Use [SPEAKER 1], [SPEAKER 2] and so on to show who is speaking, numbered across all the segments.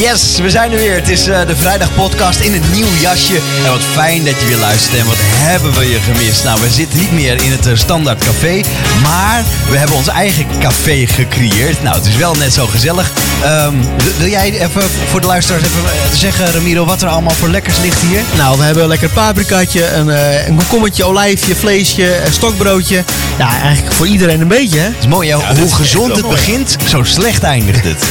[SPEAKER 1] Yes, we zijn er weer. Het is eh, de vrijdagpodcast in een nieuw jasje. En wat fijn dat je weer luistert. En wat hebben we je gemist? Nou, we zitten niet meer in het eh, standaard café. Maar we hebben ons eigen café gecreëerd. Nou, het is wel net zo gezellig. Ehm, w- wil jij even voor de luisteraars even eh, zeggen, Ramiro, wat er allemaal voor lekkers ligt hier?
[SPEAKER 2] Nou, we hebben een lekker paprikaatje, een, eh een komkommetje, olijfje, vleesje, een stokbroodje. Ja, eigenlijk voor iedereen een beetje, hè?
[SPEAKER 1] Het is mooi, hè?
[SPEAKER 3] dat
[SPEAKER 1] hoe
[SPEAKER 3] is echt
[SPEAKER 1] gezond
[SPEAKER 3] wel
[SPEAKER 1] het
[SPEAKER 3] mooi.
[SPEAKER 1] begint, zo slecht eindigt het.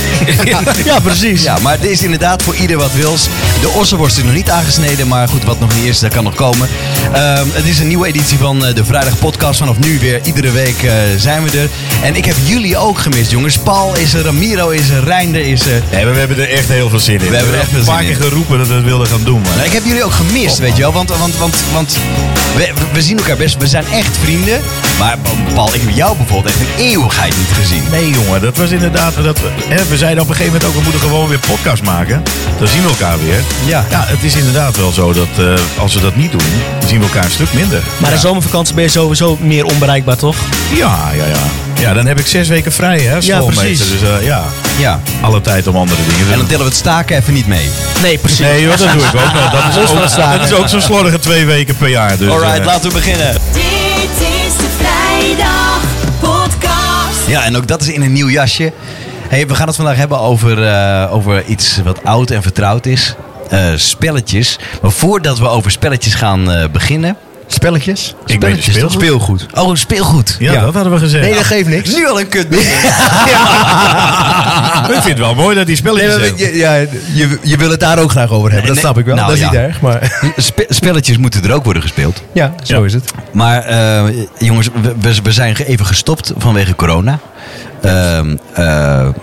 [SPEAKER 2] Ja, precies.
[SPEAKER 1] Ja, maar het is inderdaad voor ieder wat wils. De ossenworst is nog niet aangesneden, maar goed, wat nog niet is, dat kan nog komen. Ehm, het is een nieuwe editie van eh, de Vrijdag Podcast. Vanaf nu weer, iedere week eh, zijn we er. En ik heb jullie ook gemist, jongens. Paul is er, Ramiro is er, Reinder is er.
[SPEAKER 3] Nee, maar we hebben er echt heel veel zin in.
[SPEAKER 1] We hebben er echt veel
[SPEAKER 3] een paar
[SPEAKER 1] zin
[SPEAKER 3] keer
[SPEAKER 1] in.
[SPEAKER 3] geroepen dat we het wilden gaan doen,
[SPEAKER 1] Nou,
[SPEAKER 3] maar...
[SPEAKER 1] ik heb jullie ook gemist, weet je wel. Want, want, want, want we, we zien elkaar best, we zijn echt vrienden. Maar Paul, ik heb jou bijvoorbeeld echt een eeuwigheid niet gezien.
[SPEAKER 3] Nee, jongen, dat was inderdaad... Dat, we- hè, we zeiden op een gegeven moment ook, we moeten gewoon weer podcast maken. Dan zien we elkaar weer.
[SPEAKER 1] Ja.
[SPEAKER 3] Ja, het is inderdaad wel zo dat eh, als we dat niet doen, dan zien we elkaar een stuk minder.
[SPEAKER 2] Maar de
[SPEAKER 3] ja.
[SPEAKER 2] zomervakantie ben je sowieso meer onbereikbaar, toch?
[SPEAKER 3] Ja, ja, ja. Ja, dan heb ik zes weken vrij, hè, schoolmeester.
[SPEAKER 2] precies.
[SPEAKER 3] Dus eh, ja,
[SPEAKER 1] Ja.
[SPEAKER 3] alle tijd om andere dingen te
[SPEAKER 1] En
[SPEAKER 3] doen.
[SPEAKER 1] dan tillen we het staken even niet mee.
[SPEAKER 2] Nee, precies.
[SPEAKER 3] Nee, joh, dat doe ik ook wel. Dat is
[SPEAKER 2] wel
[SPEAKER 3] ook,
[SPEAKER 2] zwaar.
[SPEAKER 3] dat is ook zo'n slordige twee weken per jaar. Dus,
[SPEAKER 1] Alright,
[SPEAKER 3] eh,
[SPEAKER 1] laten we beginnen.
[SPEAKER 4] Dit is de Vrijdag Podcast.
[SPEAKER 1] Ja, en ook dat is in een nieuw jasje. Hey, we gaan het vandaag hebben over, eh, over iets wat oud en vertrouwd is. Eh, spelletjes. Maar voordat we over spelletjes gaan eh, beginnen... Spelletjes?
[SPEAKER 3] Ik weet het
[SPEAKER 1] toch?
[SPEAKER 3] speelgoed.
[SPEAKER 2] Speelgoed.
[SPEAKER 1] Oh, speelgoed.
[SPEAKER 3] Ja, dat hadden we gezegd.
[SPEAKER 2] Nee, dat geeft niks.
[SPEAKER 1] Nu al een kut.
[SPEAKER 3] ik vind het wel mooi dat die spelletjes
[SPEAKER 2] Nee,
[SPEAKER 3] hebben.
[SPEAKER 2] maar je, ja, je, je wil het daar ook graag over hebben,
[SPEAKER 1] Nee,
[SPEAKER 2] dat
[SPEAKER 1] nee.
[SPEAKER 2] snap ik wel.
[SPEAKER 1] Nou,
[SPEAKER 2] dat is
[SPEAKER 1] ja.
[SPEAKER 2] niet erg, maar
[SPEAKER 1] Spe- spelletjes moeten er ook worden gespeeld.
[SPEAKER 2] ja, zo
[SPEAKER 3] Ja.
[SPEAKER 2] is het.
[SPEAKER 1] Maar eh, jongens, we- we, we zijn ge- even gestopt vanwege corona. Ehm, eh,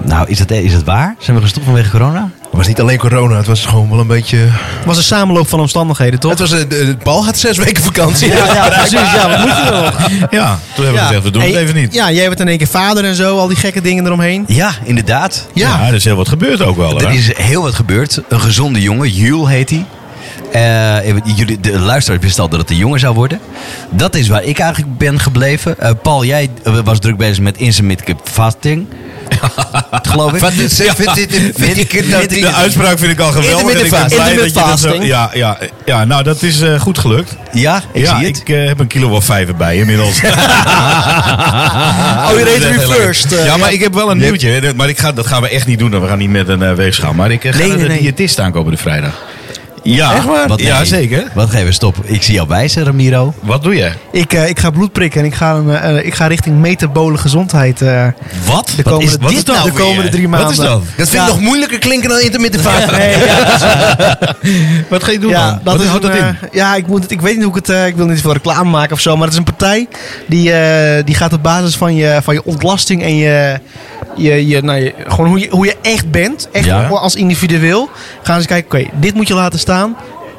[SPEAKER 1] nou, is dat, is dat waar? Zijn we gestopt vanwege corona?
[SPEAKER 5] Het was niet alleen corona, het was gewoon wel een beetje...
[SPEAKER 2] Het was een samenloop van omstandigheden, toch?
[SPEAKER 5] Het
[SPEAKER 3] eh,
[SPEAKER 5] was, een- de- de Paul had zes weken vakantie.
[SPEAKER 2] Ja, ja, precies. Ja, wat moet je wel?
[SPEAKER 3] Ja, toen hebben
[SPEAKER 2] Ja.
[SPEAKER 3] we gezegd, we doen het
[SPEAKER 2] En-
[SPEAKER 3] even niet.
[SPEAKER 2] Ja, jij bent in één keer vader en zo, al die gekke dingen eromheen.
[SPEAKER 1] Ja, inderdaad.
[SPEAKER 3] Ja, er is heel wat gebeurd ook wel. hè?
[SPEAKER 1] Er is heel wat gebeurd. Een gezonde jongen, Jules heet hij. Eh, jullie, de luisteraars wisten al dat het een jongen zou worden. Dat is waar ik eigenlijk ben gebleven. Eh, Paul, jij eh, was druk bezig met intermittent fasting. geloof ik.
[SPEAKER 5] Wat is
[SPEAKER 1] Ja.
[SPEAKER 5] vind dit- vind
[SPEAKER 1] Mid-
[SPEAKER 5] ik het nou
[SPEAKER 1] mid-
[SPEAKER 3] De uitspraak vind ik al geweldig. en ik ben
[SPEAKER 2] Intermittent
[SPEAKER 3] blij dat je dat zo-
[SPEAKER 2] fasting.
[SPEAKER 3] ja, ja, ja, nou dat is eh, goed gelukt.
[SPEAKER 1] Ja, ik
[SPEAKER 3] ja,
[SPEAKER 1] zie het.
[SPEAKER 3] ik eh, heb een kilo of vijf erbij inmiddels.
[SPEAKER 2] Oh, je reed
[SPEAKER 3] Dat is echt heel
[SPEAKER 2] reversed,
[SPEAKER 3] leuk.
[SPEAKER 2] eh,
[SPEAKER 3] ja, maar ik heb wel een nieuwtje. hè, dat- Maar ik ga, dat gaan we echt niet doen. hè, We gaan niet met een eh, weegschaal. Maar ik eh, ga
[SPEAKER 2] Nee,
[SPEAKER 3] naar
[SPEAKER 2] nee,
[SPEAKER 3] de
[SPEAKER 2] nee.
[SPEAKER 3] diëtist aankomende vrijdag. Ja,
[SPEAKER 2] Echt waar?
[SPEAKER 1] Ah, Wat, nee.
[SPEAKER 3] ja, zeker.
[SPEAKER 1] Wat geven we stop? Ik zie jou wijzen, Ramiro.
[SPEAKER 3] Wat doe je?
[SPEAKER 2] Ik, eh, ik ga bloed prikken en ik ga, een, eh, eh, ik ga richting metabole gezondheid. eh.
[SPEAKER 3] Wat?
[SPEAKER 2] De komende-
[SPEAKER 3] wat
[SPEAKER 2] dit nou de komende
[SPEAKER 3] weer?
[SPEAKER 2] drie
[SPEAKER 3] Wat is
[SPEAKER 2] maanden.
[SPEAKER 3] dat?
[SPEAKER 5] Dat vind
[SPEAKER 2] Ja.
[SPEAKER 5] ik nog moeilijker klinken dan intermittent fasting.
[SPEAKER 3] Wat ga je doen
[SPEAKER 2] ja,
[SPEAKER 3] dan?
[SPEAKER 2] dat
[SPEAKER 3] wat
[SPEAKER 2] is
[SPEAKER 3] houdt dat
[SPEAKER 2] een,
[SPEAKER 3] in?
[SPEAKER 2] eh, ja, ik, moet het, ik weet niet hoe ik het. eh, ik wil niet veel reclame maken of zo. Maar het is een partij die, eh, die gaat op basis van je, van je ontlasting en je. je, je, nou, je gewoon hoe je, hoe je echt bent. Echt
[SPEAKER 1] Ja.
[SPEAKER 2] gewoon als individueel. Gaan ze kijken, oké, dit moet je laten staan.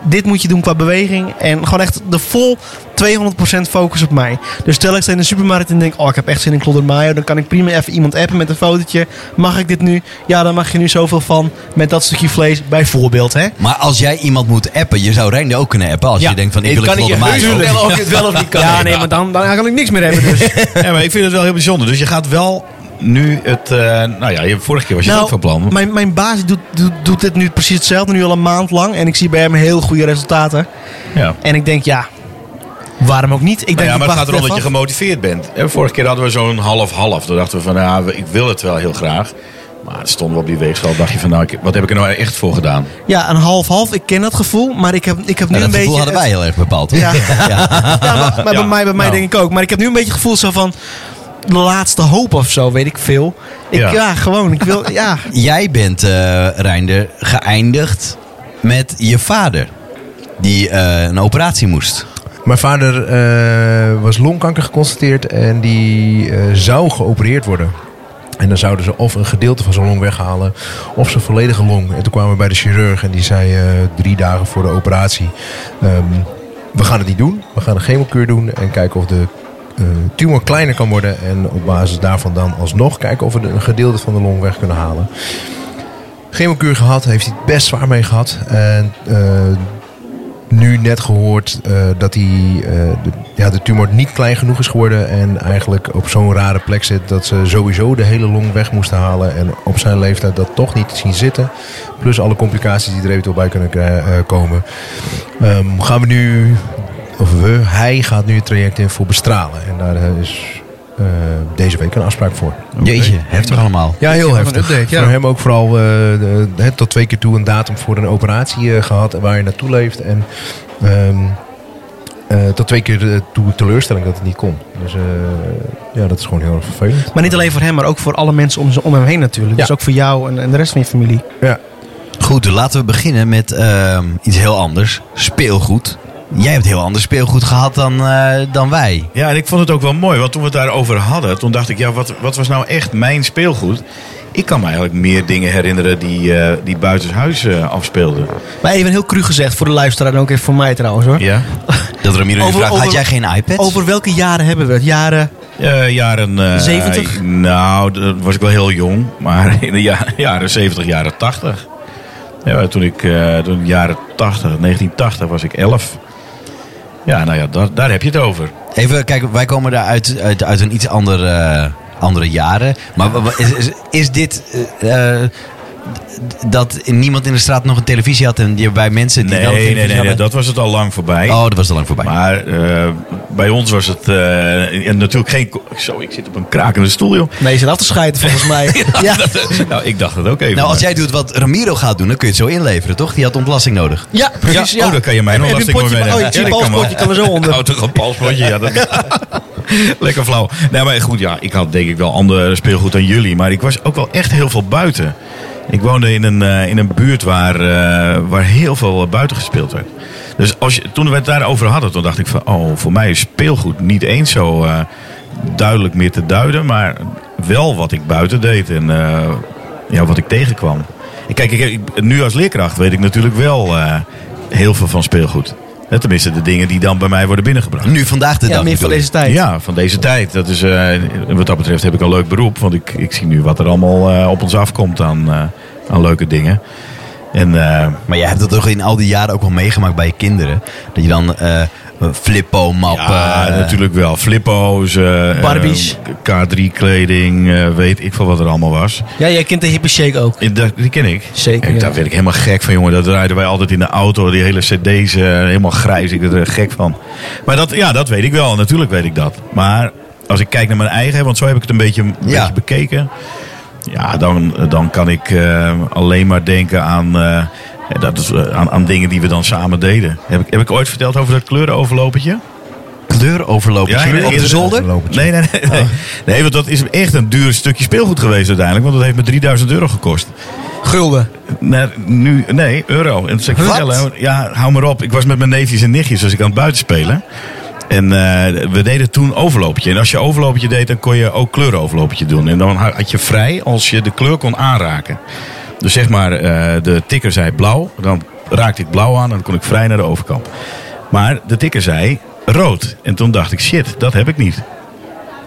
[SPEAKER 2] Dit moet je doen qua beweging. En gewoon echt de vol 200% focus op mij. Dus stel ik sta in de supermarkt en denk... Oh, ik heb echt zin in kloddermaaien. Dan kan ik prima even iemand appen met een fotootje. Mag ik dit nu? Ja, dan mag je nu zoveel van. Met dat stukje vlees, bijvoorbeeld. Hè?
[SPEAKER 1] Maar als jij iemand moet appen, je zou Reinde ook kunnen appen. Als
[SPEAKER 2] Ja.
[SPEAKER 1] je denkt van, ik
[SPEAKER 5] Dit
[SPEAKER 1] wil een
[SPEAKER 5] kan ik je
[SPEAKER 1] vlotte maat.
[SPEAKER 5] heus vertellen of je het wel of niet kan.
[SPEAKER 2] Ja, nee, maar dan, dan kan ik niks meer hebben. Dus.
[SPEAKER 3] Ja, maar ik vind het wel heel bijzonder. Dus je gaat wel nu het... eh, nou ja, je- vorige keer was je het ook van plan.
[SPEAKER 2] mijn, mijn baas doet, doet, doet dit nu precies hetzelfde, nu al een maand lang. En ik zie bij hem heel goede resultaten.
[SPEAKER 3] Ja.
[SPEAKER 2] En ik denk, ja, waarom ook niet? Ik denk,
[SPEAKER 3] Nou ja,
[SPEAKER 2] ik
[SPEAKER 3] maar het
[SPEAKER 2] wacht
[SPEAKER 3] gaat erom
[SPEAKER 2] even
[SPEAKER 3] dat je
[SPEAKER 2] af.
[SPEAKER 3] gemotiveerd bent. En vorige keer hadden we zo'n half-half. Toen dachten we van, ja, we- ik wil het wel heel graag. Maar toen stonden we op die weegschaal. dacht je van, nou, ik- wat heb ik er nou echt voor gedaan?
[SPEAKER 2] Ja, een half-half, ik ken dat gevoel. Maar ik heb, ik heb nu
[SPEAKER 1] Nou, dat
[SPEAKER 2] een beetje...
[SPEAKER 1] gevoel hadden wij heel erg bepaald. hoor.
[SPEAKER 2] Ja. Ja, maar, maar
[SPEAKER 3] Ja,
[SPEAKER 2] bij mij, bij mij
[SPEAKER 3] nou.
[SPEAKER 2] denk ik ook. Maar ik heb nu een beetje het gevoel zo van... De laatste hoop of zo, weet ik veel. Ik, ja.
[SPEAKER 3] Ja.
[SPEAKER 2] gewoon. Ik wil, ja.
[SPEAKER 1] Jij bent, eh Reinder, geëindigd met je vader. Die eh, een operatie moest.
[SPEAKER 5] Mijn vader eh, was longkanker geconstateerd en die eh, zou geopereerd worden. En dan zouden ze of een gedeelte van zijn long weghalen of zijn volledige long. En toen kwamen we bij de chirurg en die zei eh, drie dagen voor de operatie... ehm, we gaan het niet doen, we gaan een chemokuur doen en kijken of de eh, tumor kleiner kan worden. En op basis daarvan dan alsnog kijken of we de- een gedeelte van de long weg kunnen halen. Chemokuur gehad, heeft hij het best zwaar mee gehad. En eh, nu net gehoord eh, dat die, eh, de, ja, de tumor niet klein genoeg is geworden. En eigenlijk op zo'n rare plek zit dat ze sowieso de hele long weg moesten halen. En op zijn leeftijd dat toch niet zien zitten. Plus alle complicaties die er eventueel bij kunnen krij- eh, komen. Ehm, gaan we nu, of we, hij gaat nu het traject in voor bestralen. En daar eh, is eh, deze week een afspraak voor.
[SPEAKER 1] Jeetje, heftig allemaal.
[SPEAKER 5] Ja, heel
[SPEAKER 2] Even
[SPEAKER 5] heftig.
[SPEAKER 2] een update, ja.
[SPEAKER 5] Voor hem ook vooral eh, de- hè, tot twee keer toe een datum voor een operatie eh, gehad waar je naartoe leeft. En ehm, eh, tot twee keer eh, toe teleurstelling dat het niet kon. Dus eh, ja, dat is gewoon heel erg vervelend.
[SPEAKER 2] Maar niet alleen voor hem, maar ook voor alle mensen om, ze- om hem heen natuurlijk.
[SPEAKER 5] Ja.
[SPEAKER 2] Dus ook voor jou en, en de rest van je familie.
[SPEAKER 5] Ja.
[SPEAKER 1] Goed, laten we beginnen met ehm, iets heel anders. Speelgoed. Jij hebt heel anders speelgoed gehad dan, eh, dan wij.
[SPEAKER 3] Ja, en ik vond het ook wel mooi, want toen we het daarover hadden, toen dacht ik, ja, wat, wat was nou echt mijn speelgoed? Ik kan me eigenlijk meer dingen herinneren die, eh, die buitenshuis eh, afspeelden.
[SPEAKER 2] Maar even heel cru gezegd, voor de luisteraar en ook even voor mij trouwens hoor.
[SPEAKER 3] Ja?
[SPEAKER 1] Dat Ramiro nu
[SPEAKER 2] Over-
[SPEAKER 1] vraagt, had
[SPEAKER 2] over-
[SPEAKER 1] jij geen iPad?
[SPEAKER 2] Over welke jaren hebben we het? Jaren...
[SPEAKER 3] Eh, jaren... eh,
[SPEAKER 2] 70?
[SPEAKER 3] Nou, dat was ik wel heel jong. Maar in de ja- jaren 70, jaren 80. Ja, toen ik, eh toen jaren 80, 1980 was ik 11. Ja, nou ja, daar, daar heb je het over.
[SPEAKER 1] Even, kijk, wij komen daar uit, uit, uit een iets andere, eh, andere jaren. Maar wa- wa- is, is, is dit eh, eh, d- dat niemand in de straat nog een televisie had en je bij mensen die
[SPEAKER 3] Nee,
[SPEAKER 1] wel een
[SPEAKER 3] nee,
[SPEAKER 1] televisie
[SPEAKER 3] nee, nee,
[SPEAKER 1] hadden?
[SPEAKER 3] dat was het al lang voorbij.
[SPEAKER 1] Oh, dat was al lang voorbij.
[SPEAKER 3] Maar eh, bij ons was het eh, en natuurlijk geen... ko- Zo, ik zit op een krakende stoel, joh.
[SPEAKER 2] Nee, je zit af te scheiden volgens mij. ja.
[SPEAKER 3] nou, ik dacht dat ook even.
[SPEAKER 1] nou, als jij doet wat Ramiro gaat doen, dan kun je het zo inleveren, toch? Die had ontlasting nodig.
[SPEAKER 2] Ja, precies. Ja.
[SPEAKER 3] Oh, dan kan je mij nog
[SPEAKER 2] Heb je een
[SPEAKER 3] lastig
[SPEAKER 2] potje-
[SPEAKER 3] mee
[SPEAKER 2] oh, je palspotje kan er zo onder.
[SPEAKER 3] Oh, toch een palspotje, ja. Dat... Lekker flauw. Nee, maar goed, ja, ik had denk ik wel ander speelgoed dan jullie. Maar ik was ook wel echt heel veel buiten. Ik woonde in een, eh, in een buurt waar, eh, waar heel veel eh, buiten gespeeld werd. Dus als je, toen we het daarover hadden, toen dacht ik van... Oh, voor mij is speelgoed niet eens zo eh, duidelijk meer te duiden. Maar wel wat ik buiten deed en eh, ja, wat ik tegenkwam. En Kijk, ik, ik- nu als leerkracht weet ik natuurlijk wel eh, heel veel van speelgoed. Eh, Tenminste, de dingen die dan bij mij worden binnengebracht.
[SPEAKER 1] Nu vandaag de
[SPEAKER 2] Ja,
[SPEAKER 1] dag.
[SPEAKER 2] meer van
[SPEAKER 1] bedoel ik.
[SPEAKER 2] deze tijd.
[SPEAKER 3] Ja, van deze tijd. Dat is, eh, wat dat betreft heb ik een leuk beroep. Want ik, ik zie nu wat er allemaal eh, op ons afkomt aan, eh, aan leuke dingen. En eh,
[SPEAKER 1] Maar jij hebt dat toch in al die jaren ook wel meegemaakt bij je kinderen? Dat je dan eh, flippo, mappen...
[SPEAKER 3] ja,
[SPEAKER 1] eh,
[SPEAKER 3] natuurlijk wel. Flippo's. eh,
[SPEAKER 2] Barbies.
[SPEAKER 3] eh, K3-kleding. eh, weet ik veel wat er allemaal was.
[SPEAKER 2] Ja, jij kent de hippe shake ook.
[SPEAKER 3] Eh, dat- Die ken ik.
[SPEAKER 2] Zeker,
[SPEAKER 3] Ik,
[SPEAKER 2] ja.
[SPEAKER 3] Daar werd ik helemaal gek van, jongen. Dat draaiden wij altijd in de auto. Die hele cd's, eh, helemaal grijs. Ik werd er gek van. Maar dat, ja, dat weet ik wel. Natuurlijk weet ik dat. Maar als ik kijk naar mijn eigen... Want zo heb ik het een beetje, een
[SPEAKER 1] Ja.
[SPEAKER 3] beetje bekeken. Ja, dan, dan kan ik eh, alleen maar denken aan... eh, dat is, eh, aan, aan dingen die we dan samen deden. Heb ik, heb ik ooit verteld over dat kleurenoverlopertje?
[SPEAKER 1] kleuroverlopen.
[SPEAKER 3] Ja,
[SPEAKER 1] Op de
[SPEAKER 3] eerder-
[SPEAKER 1] zolder? Ah.
[SPEAKER 5] Lopertje.
[SPEAKER 3] Nee, nee, nee. Nee, nee want dat is echt een duur stukje speelgoed geweest uiteindelijk. Want dat heeft me 3000 euro gekost.
[SPEAKER 2] Gulden.
[SPEAKER 3] Naar, nu, nee, euro. En toen zei ik,
[SPEAKER 1] Wat?
[SPEAKER 3] vertellen, ja, hou maar op. Ik was met mijn neefjes en nichtjes, dus ik aan het buiten spelen. En eh, we deden toen overloopje. En als je overloopje deed, dan kon je ook kleuroverloopje doen. En dan had je vrij als je de kleur kon aanraken. Dus zeg maar, eh, de tikker zei blauw. Dan raakte ik blauw aan en dan kon ik vrij naar de overkant. Maar de tikker zei rood. En toen dacht ik, shit, dat heb ik niet.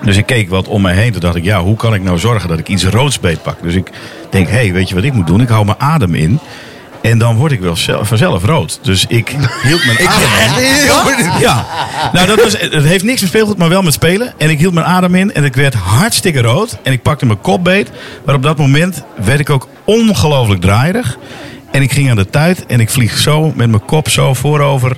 [SPEAKER 3] Dus ik keek wat om mij heen. Toen dacht ik, ja, hoe kan ik nou zorgen dat ik iets roods beetpak? Dus ik denk, hé, hey, weet je wat ik moet doen? Ik hou mijn adem in. En dan word ik wel zelf, vanzelf rood. Dus ik hield mijn adem in. Ja, nou dat, was, het heeft niks met speelgoed, maar wel met spelen. En ik hield mijn adem in en ik werd hartstikke rood. En ik pakte mijn kop beet. Maar op dat moment werd ik ook ongelooflijk draaierig. En ik ging aan de tuit en ik vlieg zo met mijn kop zo voorover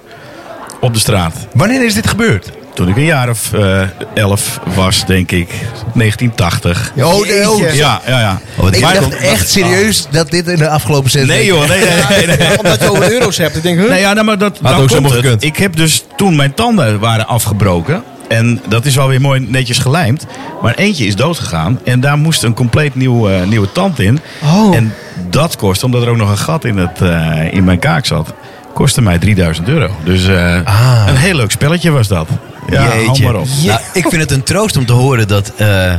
[SPEAKER 3] op de straat.
[SPEAKER 5] Wanneer is dit gebeurd?
[SPEAKER 3] Toen ik een jaar of eh, elf was, denk ik, 1980. Ja,
[SPEAKER 5] Oh, nee, oh,
[SPEAKER 2] Jeetje.
[SPEAKER 3] ja, ja.
[SPEAKER 5] Ik
[SPEAKER 3] Maar-
[SPEAKER 5] dacht echt serieus dat dit in de afgelopen zes
[SPEAKER 3] Ah. Nee
[SPEAKER 5] weken-
[SPEAKER 3] joh, nee, nee, nee. nee.
[SPEAKER 2] Omdat je over euro's hebt. Ik denk, huh?
[SPEAKER 3] Nee, ja, nou, maar dat
[SPEAKER 5] ook
[SPEAKER 3] dan komt
[SPEAKER 5] zomaar
[SPEAKER 3] het.
[SPEAKER 5] gekund.
[SPEAKER 3] Ik heb dus toen mijn tanden waren afgebroken. En dat is wel weer mooi netjes gelijmd. Maar eentje is doodgegaan. En daar moest een compleet nieuw, eh, nieuwe tand in.
[SPEAKER 2] Oh.
[SPEAKER 3] En dat kostte, omdat er ook nog een gat in, het, eh, in mijn kaak zat, kostte mij 3000 euro. Dus eh,
[SPEAKER 5] Ah.
[SPEAKER 3] een heel leuk spelletje was dat. Ja, hou
[SPEAKER 1] Jeetje.
[SPEAKER 3] maar op.
[SPEAKER 1] Nou, ik vind het een troost om te horen dat eh,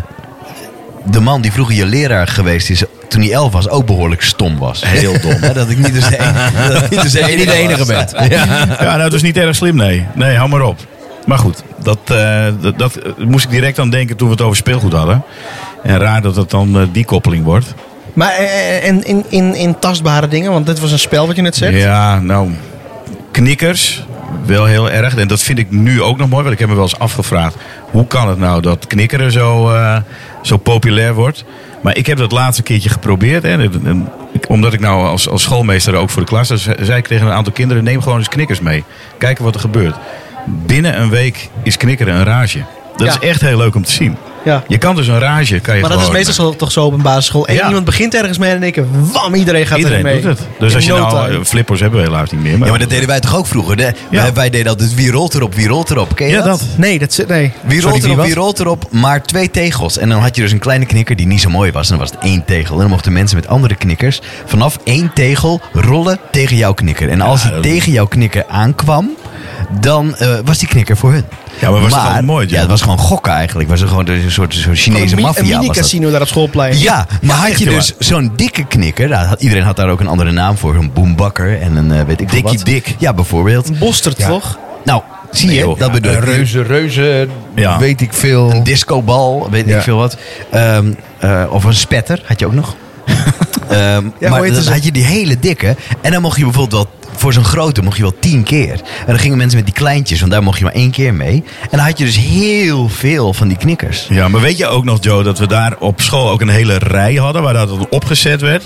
[SPEAKER 1] de man die vroeger je leraar geweest is, toen hij elf was, ook behoorlijk stom was.
[SPEAKER 3] Heel dom.
[SPEAKER 1] Ja, dat ik niet dus de enige, dat ik niet dus de enige, was.
[SPEAKER 3] Ja, nou, dat is niet erg slim, nee. Nee, hou maar op. Maar goed, dat, eh, dat, dat, eh, moest ik direct aan denken toen we het over speelgoed hadden. En raar dat het dan eh, die koppeling wordt.
[SPEAKER 2] eh, Maar eh, en in, in, in tastbare dingen, want dit was een spel wat je net zegt.
[SPEAKER 3] Ja, nou, knikkers, wel heel erg. En dat vind ik nu ook nog mooi, want ik heb me wel eens afgevraagd... hoe kan het nou dat knikkeren zo, eh, zo populair wordt? Maar ik heb dat laatste keertje geprobeerd. Hè, en- en ik- omdat ik nou als, als schoolmeester ook voor de klas... Dus zei ik tegen een aantal kinderen, neem gewoon eens knikkers mee. Kijken wat er gebeurt. Binnen een week is knikkeren een rage. Dat
[SPEAKER 2] Ja.
[SPEAKER 3] is echt heel leuk om te zien.
[SPEAKER 2] Ja.
[SPEAKER 3] Je kan dus een rage... Kan je
[SPEAKER 2] Maar dat is
[SPEAKER 3] gewoon- eh,
[SPEAKER 2] meestal zo- toch zo op een basisschool. Eén
[SPEAKER 3] Ja.
[SPEAKER 2] iemand begint ergens mee en in één keer, wam, iedereen gaat
[SPEAKER 3] Iedereen
[SPEAKER 2] ermee.
[SPEAKER 3] doet het. Dus
[SPEAKER 2] In
[SPEAKER 3] als je
[SPEAKER 2] no
[SPEAKER 3] nou...
[SPEAKER 2] time.
[SPEAKER 3] eh, Flippers hebben we helaas niet meer.
[SPEAKER 1] Ja, maar dat deden wij toch ook vroeger? De, wij, wij deden altijd wie rolt erop, wie rolt erop. Ken je
[SPEAKER 3] Ja,
[SPEAKER 1] dat?
[SPEAKER 3] dat.
[SPEAKER 2] Nee, dat zit... Nee.
[SPEAKER 1] Wie rolt
[SPEAKER 3] Sorry, wie
[SPEAKER 1] erop,
[SPEAKER 3] wat?
[SPEAKER 1] wie rolt erop, maar twee tegels. En dan had je dus een kleine knikker die niet zo mooi was. En dan was het één tegel. En dan mochten mensen met andere knikkers vanaf één tegel rollen tegen jouw knikker. En als die
[SPEAKER 3] dat-
[SPEAKER 1] tegen jouw knikker aankwam, dan eh, was die knikker voor hun.
[SPEAKER 3] Ja, maar was het gewoon mooi,
[SPEAKER 1] Ja, het was gewoon gokken eigenlijk. Was er gewoon dus een soort, soort Chinese
[SPEAKER 2] Een mi- Een
[SPEAKER 1] maffia. was dat.
[SPEAKER 2] mini-casino daar op schoolplein.
[SPEAKER 1] Ja, maar had je
[SPEAKER 3] joh.
[SPEAKER 1] dus zo'n dikke knikker. Nou, had- iedereen had daar ook een andere naam voor. Een boembakker en een eh, weet ik veel
[SPEAKER 3] Dikkie
[SPEAKER 1] wat.
[SPEAKER 3] Dik.
[SPEAKER 1] Ja, bijvoorbeeld.
[SPEAKER 2] Een Bosterd, toch?
[SPEAKER 1] Nou, zie je,
[SPEAKER 3] Nee, joh.
[SPEAKER 1] dat
[SPEAKER 3] Ja,
[SPEAKER 1] bedoel ik.
[SPEAKER 5] Eh, Reuze, reuze,
[SPEAKER 3] Ja.
[SPEAKER 5] weet ik veel.
[SPEAKER 1] Een discobal, weet
[SPEAKER 5] Ja.
[SPEAKER 1] ik veel wat. Ehm, eh, of een spetter, had je ook nog. Ehm,
[SPEAKER 2] hoe
[SPEAKER 1] maar
[SPEAKER 2] heet
[SPEAKER 1] dan
[SPEAKER 2] ze?
[SPEAKER 1] had je die hele dikke. En dan mocht je bijvoorbeeld wel... Voor zo'n grote mocht je wel tien keer. En dan gingen mensen met die kleintjes, want daar mocht je maar één keer mee. En dan had je dus heel veel van die knikkers.
[SPEAKER 3] Ja, maar weet je ook nog, Joe, dat we daar op school ook een hele rij hadden waar dat opgezet werd.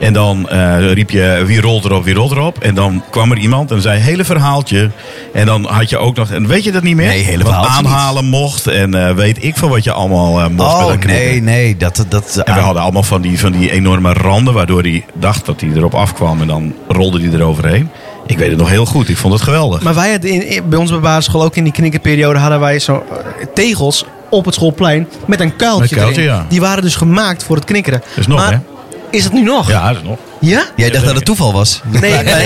[SPEAKER 3] En dan eh, riep je wie rolt erop, wie rolt erop. En dan kwam er iemand en zei hele verhaaltje. En dan had je ook nog, en weet je dat niet meer?
[SPEAKER 1] Nee, hele
[SPEAKER 3] Wat
[SPEAKER 1] verhaaltje niet.
[SPEAKER 3] aanhalen mocht en eh, weet ik van wat je allemaal eh, mocht. bij
[SPEAKER 1] Oh,
[SPEAKER 3] dat knikken.
[SPEAKER 1] nee, nee. Dat, dat,
[SPEAKER 3] En we hadden allemaal van die, van die enorme randen waardoor hij dacht dat hij erop afkwam en dan rolde hij eroverheen. Ik weet het nog heel goed, ik vond het geweldig.
[SPEAKER 2] Maar wij hadden in, in- bij ons bij basisschool, ook in die knikkerperiode, hadden wij zo eh, tegels op het schoolplein met een kuiltje,
[SPEAKER 3] Met kuiltje,
[SPEAKER 2] erin.
[SPEAKER 3] ja.
[SPEAKER 2] Die waren dus gemaakt voor het knikkeren.
[SPEAKER 3] Is nog,
[SPEAKER 2] maar,
[SPEAKER 3] hè?
[SPEAKER 2] Is het nu nog?
[SPEAKER 3] Ja, dat is nog.
[SPEAKER 2] Ja?
[SPEAKER 1] Jij dacht dat het toeval was?
[SPEAKER 2] Nee, nee, nee, nee,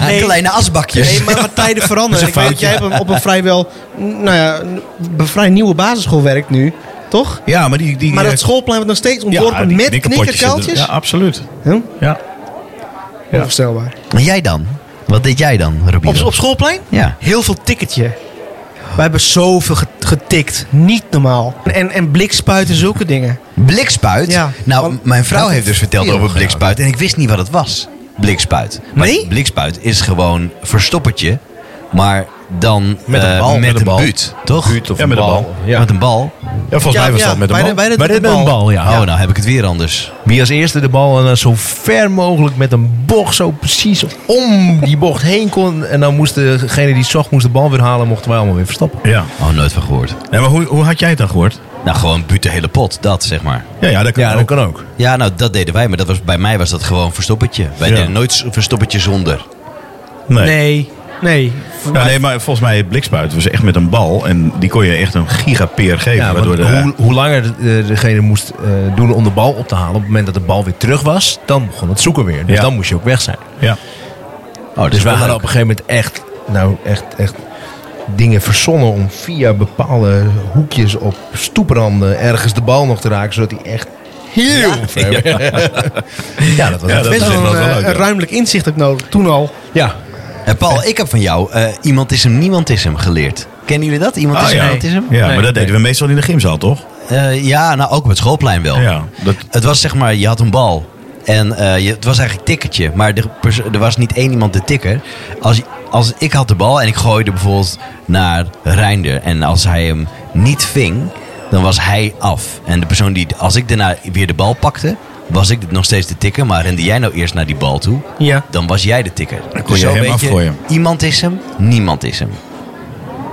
[SPEAKER 2] nee.
[SPEAKER 1] Kleine asbakjes.
[SPEAKER 2] Nee, maar, maar tijden veranderen. Ik weet dat jij op een, op een vrijwel, nou ja, een vrij nieuwe basisschool werkt nu, toch?
[SPEAKER 3] Ja, maar die... die
[SPEAKER 2] Maar
[SPEAKER 3] eh,
[SPEAKER 2] dat schoolplein wordt nog steeds
[SPEAKER 3] ja,
[SPEAKER 2] ontworpen
[SPEAKER 3] die
[SPEAKER 2] met
[SPEAKER 3] knikkerpotjes zitten-
[SPEAKER 2] knikkerkuiltjes?
[SPEAKER 3] Ja, absoluut.
[SPEAKER 2] Huh?
[SPEAKER 3] Ja.
[SPEAKER 2] Onvoorstelbaar.
[SPEAKER 1] En jij dan? Wat deed jij dan, Robin?
[SPEAKER 2] Op, op schoolplein?
[SPEAKER 1] Ja.
[SPEAKER 2] Heel veel ticketje. We hebben zoveel ge- getikt. Niet normaal. En, en blikspuiten, zulke dingen.
[SPEAKER 1] Blikspuit?
[SPEAKER 2] Ja.
[SPEAKER 1] Nou,
[SPEAKER 2] Want-
[SPEAKER 1] m- mijn vrouw heeft dus verteld
[SPEAKER 5] veel
[SPEAKER 1] over
[SPEAKER 5] gedaan.
[SPEAKER 1] blikspuit en ik wist niet wat het was. Blikspuit. Maar
[SPEAKER 2] Nee?
[SPEAKER 1] Blikspuit is gewoon verstoppertje, maar dan
[SPEAKER 5] Met een
[SPEAKER 1] eh,
[SPEAKER 5] bal,
[SPEAKER 1] met,
[SPEAKER 5] met een
[SPEAKER 1] een
[SPEAKER 5] bal.
[SPEAKER 1] buut, toch?
[SPEAKER 5] Buut of
[SPEAKER 3] Ja,
[SPEAKER 5] een
[SPEAKER 3] met een
[SPEAKER 5] bal.
[SPEAKER 3] bal.
[SPEAKER 5] Ja.
[SPEAKER 1] Met een bal.
[SPEAKER 3] Ja, volgens
[SPEAKER 2] Ja,
[SPEAKER 3] mij was
[SPEAKER 2] ja,
[SPEAKER 3] dat met een
[SPEAKER 2] bij
[SPEAKER 3] bal.
[SPEAKER 2] de- bij de-
[SPEAKER 5] Maar dit
[SPEAKER 2] met
[SPEAKER 5] met een
[SPEAKER 2] bal.
[SPEAKER 5] bal, ja.
[SPEAKER 1] Oh, nou heb ik het weer anders.
[SPEAKER 5] Wie als eerste de bal en dan zo ver mogelijk met een bocht zo precies om die bocht heen kon. En dan moest degene die het zag moest de bal weer halen, mochten wij allemaal weer verstappen.
[SPEAKER 3] Ja.
[SPEAKER 1] Oh, nooit van gehoord.
[SPEAKER 3] Nee, maar hoe, hoe had jij het dan gehoord?
[SPEAKER 1] Nou, gewoon buut de hele pot, dat zeg maar.
[SPEAKER 3] Ja, ja dat kan ook.
[SPEAKER 5] kan ook.
[SPEAKER 1] Ja, nou, dat deden wij, maar dat was, bij mij was dat gewoon verstoppertje. Wij
[SPEAKER 3] Ja.
[SPEAKER 1] deden nooit s- verstoppertje zonder.
[SPEAKER 3] Nee.
[SPEAKER 2] Nee. Nee. Voor
[SPEAKER 3] Ja,
[SPEAKER 2] mij-
[SPEAKER 3] nee, maar volgens mij het blikspuit was echt met een bal. En die kon je echt een gigapeer geven.
[SPEAKER 5] Ja, want
[SPEAKER 3] waardoor de,
[SPEAKER 5] hoe, hoe langer de- degene moest eh, doen om de bal op te halen, op het moment dat de bal weer terug was, dan begon het zoeken weer. Dus
[SPEAKER 3] Ja.
[SPEAKER 5] dan moest je ook weg zijn.
[SPEAKER 3] ja.
[SPEAKER 1] Oh, dat
[SPEAKER 5] Dus
[SPEAKER 1] is
[SPEAKER 5] wij
[SPEAKER 1] wel
[SPEAKER 5] hadden
[SPEAKER 1] leuk.
[SPEAKER 5] op een gegeven moment echt, nou echt, echt dingen verzonnen om via bepaalde hoekjes op stoepranden ergens de bal nog te raken, zodat hij echt heel ver ja. ja, dat was
[SPEAKER 3] Ja,
[SPEAKER 5] echt
[SPEAKER 3] dat-
[SPEAKER 2] Best
[SPEAKER 3] is
[SPEAKER 2] wel
[SPEAKER 3] wel
[SPEAKER 2] een,
[SPEAKER 3] leuk,
[SPEAKER 2] eh,
[SPEAKER 3] ja.
[SPEAKER 2] een ruimtelijk inzicht ook nodig. Toen al.
[SPEAKER 5] Ja.
[SPEAKER 1] En Paul, ik heb van jou eh, iemand is hem, niemand is hem geleerd. Kennen jullie dat? Iemand is hem, niemand is hem?
[SPEAKER 3] Ah, ja maar dat deden we meestal in de gymzaal, toch?
[SPEAKER 1] Eh, ja, nou ook op het schoolplein wel.
[SPEAKER 3] Ja, dat,
[SPEAKER 1] Het was zeg maar, je had een bal. En eh, je, het was eigenlijk tikkertje. Maar de perso- er was niet één iemand de tikker. Als, als ik had de bal en ik gooide bijvoorbeeld naar Reinder. En als hij hem niet ving, dan was hij af. En de persoon die, als ik daarna weer de bal pakte, was ik nog steeds de tikker. Maar rende jij nou eerst naar die bal toe,
[SPEAKER 2] Ja.
[SPEAKER 1] dan was jij de tikker. Dan
[SPEAKER 3] kon je hem afgooien.
[SPEAKER 1] Iemand is hem, niemand is hem.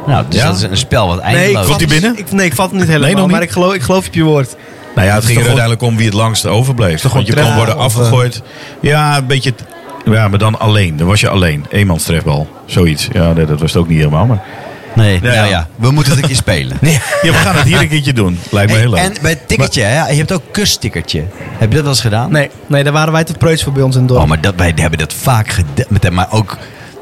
[SPEAKER 1] Nou, dus
[SPEAKER 3] Ja?
[SPEAKER 1] dat is een spel wat
[SPEAKER 2] Nee, ik
[SPEAKER 1] eindeloos
[SPEAKER 3] Komt
[SPEAKER 2] vat
[SPEAKER 3] hij
[SPEAKER 2] het-
[SPEAKER 3] binnen?
[SPEAKER 2] Ik, nee, ik vat het niet helemaal.
[SPEAKER 3] nog niet?
[SPEAKER 2] Maar ik geloof, ik geloof op je woord.
[SPEAKER 3] nou ja, het ging er
[SPEAKER 5] toch wel-
[SPEAKER 3] uiteindelijk om wie het langst overbleef.
[SPEAKER 5] toch
[SPEAKER 3] Want je
[SPEAKER 5] wel
[SPEAKER 3] kon worden
[SPEAKER 5] treffer, of,
[SPEAKER 3] afgegooid. Ja, een beetje... t- Ja, maar dan alleen. Dan was je alleen. Eenmans trefbal. Zoiets. Ja, nee, dat was het ook niet helemaal. Maar...
[SPEAKER 1] Nee, nou
[SPEAKER 3] ja.
[SPEAKER 1] ja, we moeten het een keer spelen.
[SPEAKER 3] Ja, we gaan het hier een keertje doen. Lijkt me
[SPEAKER 1] Hey,
[SPEAKER 3] heel leuk.
[SPEAKER 1] en bij het tikkertje, hè, je hebt ook kustikkertje. Heb je dat wel eens gedaan?
[SPEAKER 2] Nee, nee, daar waren wij te preuts voor bij ons in het dorp.
[SPEAKER 1] Oh, maar dat, wij hebben dat vaak gedaan met hem. Maar ook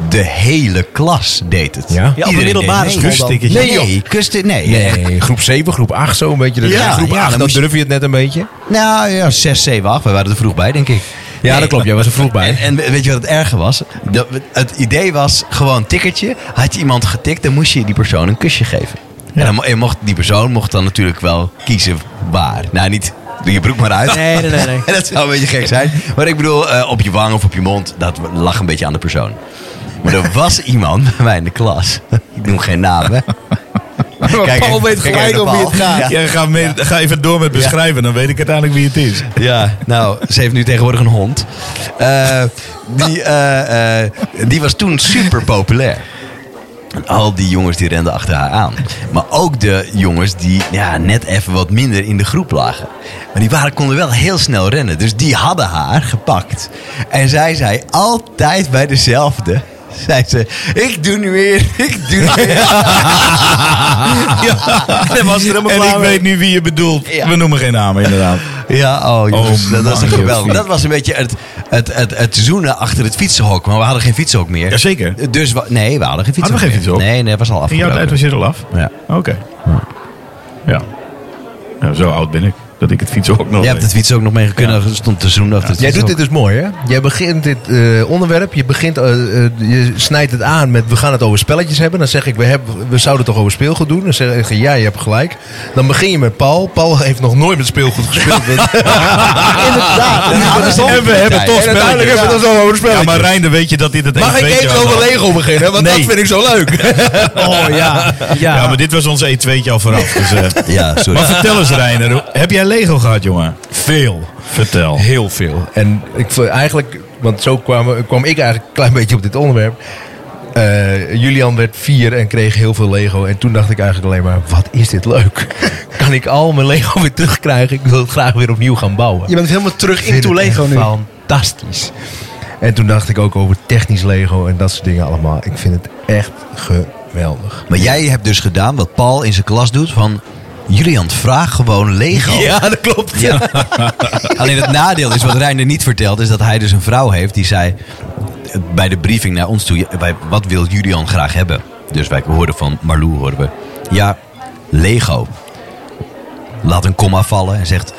[SPEAKER 1] de hele klas deed het.
[SPEAKER 5] Ja? Ja, op de
[SPEAKER 1] Iedereen deed
[SPEAKER 2] middelbare
[SPEAKER 1] mee.
[SPEAKER 2] school dan.
[SPEAKER 1] Kustikkertje. Nee, nee kusti- nee.
[SPEAKER 5] Nee, groep 7, groep 8 zo een beetje. Dus
[SPEAKER 1] Ja,
[SPEAKER 5] groep
[SPEAKER 1] ja, dan
[SPEAKER 5] 8, dan
[SPEAKER 1] moest je-
[SPEAKER 5] durf je het net een beetje.
[SPEAKER 1] Nou ja, 6, 7, 8. Wij waren er vroeg bij, denk ik.
[SPEAKER 5] Ja,
[SPEAKER 1] Nee,
[SPEAKER 5] dat klopt. Jij was er vroeg bij.
[SPEAKER 1] En, en weet je wat het erge was? Dat, we- het idee was gewoon tikkertje. Had je iemand getikt, dan moest je die persoon een kusje geven. En dan, mo- en mocht, die persoon mocht dan natuurlijk wel kiezen waar. Nou, niet doe je broek maar uit.
[SPEAKER 2] Nee, nee, nee, nee.
[SPEAKER 1] dat zou een beetje gek zijn. Maar ik bedoel, eh, op je wang of op je mond, dat lag een beetje aan de persoon. Maar er was iemand bij mij in de klas. Ik noem geen naam, hè. Kijk
[SPEAKER 6] Paul
[SPEAKER 1] even-
[SPEAKER 6] weet
[SPEAKER 1] kijk
[SPEAKER 6] gelijk
[SPEAKER 1] even
[SPEAKER 6] om
[SPEAKER 1] naar
[SPEAKER 6] wie het
[SPEAKER 1] Paul.
[SPEAKER 6] gaat.
[SPEAKER 1] Ja.
[SPEAKER 3] Ja, ga, mee- ga even door met beschrijven, dan weet ik uiteindelijk wie het is.
[SPEAKER 1] Ja, nou, ze heeft nu tegenwoordig een hond. Eh, die, eh, eh, die was toen super populair. En Al die jongens die renden achter haar aan. Maar ook de jongens die ja, net even wat minder in de groep lagen. Maar die waren, konden wel heel snel rennen. Dus die hadden haar gepakt. En zij zei altijd bij dezelfde. Zei ze, ik doe nu weer, ik doe nu weer.
[SPEAKER 3] En, ik weet nu wie je bedoelt.
[SPEAKER 1] Ja.
[SPEAKER 3] We noemen geen namen, inderdaad.
[SPEAKER 1] Ja, oh jongens,
[SPEAKER 3] Oh,
[SPEAKER 1] dat was
[SPEAKER 3] man,
[SPEAKER 1] een geweldig.
[SPEAKER 3] joh.
[SPEAKER 1] Dat was een beetje het, het, het, het zoenen achter het fietsenhok. Maar we hadden geen fietsenhok meer.
[SPEAKER 3] Jazeker.
[SPEAKER 1] Dus wa- nee, we hadden geen fietsenhok
[SPEAKER 3] Hadden we
[SPEAKER 1] meer.
[SPEAKER 3] geen fietsenhok?
[SPEAKER 1] Nee, nee, was al
[SPEAKER 3] In jouw
[SPEAKER 1] afgebroken.
[SPEAKER 3] tijd was je er al af?
[SPEAKER 1] Ja.
[SPEAKER 3] Oké. Ja. Nou, zo oud ben ik, dat ik het fietsen ook nog
[SPEAKER 1] Jij
[SPEAKER 3] weet.
[SPEAKER 1] hebt het fietsen ook nog mee kunnen. Er stond te zoenen achter het
[SPEAKER 5] Jij doet dit
[SPEAKER 1] fietsenhok.
[SPEAKER 5] dus mooi, hè? Jij begint dit eh, onderwerp, je, begint, eh, eh, je snijdt het aan met we gaan het over spelletjes hebben. Dan zeg ik, we, hebben, we zouden het toch over speelgoed doen? Dan zeg ik, ja, je hebt gelijk. Dan begin je met Paul. Paul heeft nog nooit met speelgoed gespeeld.
[SPEAKER 1] Inderdaad.
[SPEAKER 3] En we hebben toch
[SPEAKER 5] en uiteindelijk
[SPEAKER 3] spelletjes.
[SPEAKER 5] hebben we het dan over
[SPEAKER 3] Ja,
[SPEAKER 5] spelletjes.
[SPEAKER 3] maar Rijn, dan weet je dat dit het
[SPEAKER 5] Mag ik
[SPEAKER 3] E2'tje
[SPEAKER 5] even
[SPEAKER 3] was.
[SPEAKER 5] over Lego beginnen? Want
[SPEAKER 3] Nee.
[SPEAKER 5] dat vind ik zo leuk.
[SPEAKER 2] Oh ja. ja.
[SPEAKER 3] Ja, maar dit was ons E2'tje al vooraf. Dus, eh.
[SPEAKER 1] Ja, sorry.
[SPEAKER 3] Maar vertel eens, Reiner. hoe- Heb jij Lego gehad, jongen? Veel. Vertel.
[SPEAKER 5] Heel veel. En ik vond eigenlijk, want zo kwam, kwam ik eigenlijk een klein beetje op dit onderwerp. Eh, Julian werd vier en kreeg heel veel Lego. En toen dacht ik eigenlijk alleen maar, wat is dit leuk? kan ik al mijn Lego weer terugkrijgen? Ik wil het graag weer opnieuw gaan bouwen.
[SPEAKER 2] Je bent helemaal terug
[SPEAKER 5] Ik vind
[SPEAKER 2] into
[SPEAKER 5] het
[SPEAKER 2] Lego
[SPEAKER 5] echt
[SPEAKER 2] nu.
[SPEAKER 5] Fantastisch. En toen dacht ik ook over technisch Lego en dat soort dingen allemaal. Ik vind het echt geweldig.
[SPEAKER 1] Maar jij hebt dus gedaan wat Paul in zijn klas doet van... Julian, vraag gewoon Lego.
[SPEAKER 5] Ja, dat klopt.
[SPEAKER 1] Ja. Alleen het nadeel is, wat Reiner niet vertelt, is dat hij dus een vrouw heeft die zei eh, bij de briefing naar ons toe: ja, wij- wat wil Julian graag hebben? Dus wij hoorden van Marlou, hoorden we, ja, Lego. Laat een komma vallen en zegt,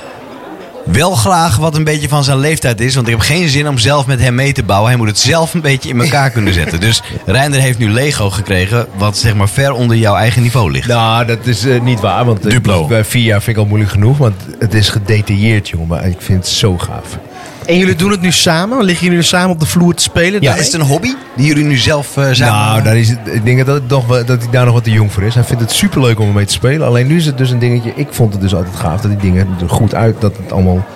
[SPEAKER 1] wel graag wat een beetje van zijn leeftijd is, want ik heb geen zin om zelf met hem mee te bouwen. Hij moet het zelf een beetje in elkaar kunnen zetten. Dus Reiner heeft nu Lego gekregen, wat zeg maar ver onder jouw eigen niveau ligt.
[SPEAKER 5] Nou, dat is eh, niet waar. Want eh,
[SPEAKER 3] Duplo.
[SPEAKER 5] Bij vier jaar vind ik al moeilijk genoeg. Want het is gedetailleerd, jongen. Maar ik vind het zo gaaf.
[SPEAKER 2] En jullie doen het nu samen? Liggen jullie nu samen op de vloer te spelen?
[SPEAKER 1] Ja,
[SPEAKER 2] Daar-
[SPEAKER 1] is het een hobby die jullie nu zelf eh, zijn?
[SPEAKER 5] nou, daar is, het- ik denk dat, het nog wel- dat hij daar nog wat te jong voor is. Hij vindt het superleuk om ermee te spelen. Alleen nu is het dus een dingetje. Ik vond het dus altijd gaaf dat die dingen er goed uit. Dat het allemaal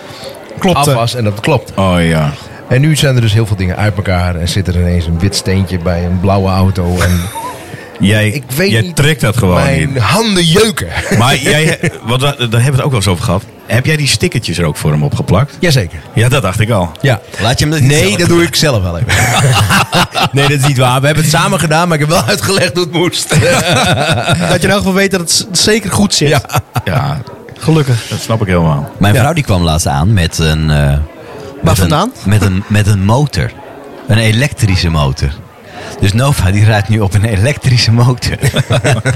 [SPEAKER 5] af
[SPEAKER 2] Klopte.
[SPEAKER 5] was en dat het klopt.
[SPEAKER 3] Oh ja.
[SPEAKER 5] En nu zijn er dus heel veel dingen uit elkaar. En zit er ineens een wit steentje bij een blauwe auto. En
[SPEAKER 3] Jij,
[SPEAKER 5] ik weet
[SPEAKER 3] jij
[SPEAKER 5] niet.
[SPEAKER 3] trekt dat gewoon
[SPEAKER 5] Mijn
[SPEAKER 3] niet.
[SPEAKER 5] handen jeuken.
[SPEAKER 3] Maar jij, wat, daar hebben we het ook wel eens over gehad. Heb jij die stickertjes er ook voor hem opgeplakt?
[SPEAKER 5] Jazeker.
[SPEAKER 3] Ja, dat dacht ik al.
[SPEAKER 5] Ja.
[SPEAKER 1] Laat je hem dat niet
[SPEAKER 5] Nee,
[SPEAKER 1] zelf
[SPEAKER 5] dat doe ik zelf wel even. nee, dat is niet waar. We hebben het samen gedaan, maar ik heb wel uitgelegd hoe het moest.
[SPEAKER 2] Dat je in elk geval weet dat het z- zeker goed zit.
[SPEAKER 5] Ja.
[SPEAKER 3] Ja,
[SPEAKER 2] Gelukkig.
[SPEAKER 3] dat snap ik helemaal.
[SPEAKER 1] Mijn vrouw die kwam laatst aan met een. eh, met
[SPEAKER 2] vandaan?
[SPEAKER 1] Een, met, een, met een motor. Een elektrische motor. Dus Nova die rijdt nu op een elektrische motor.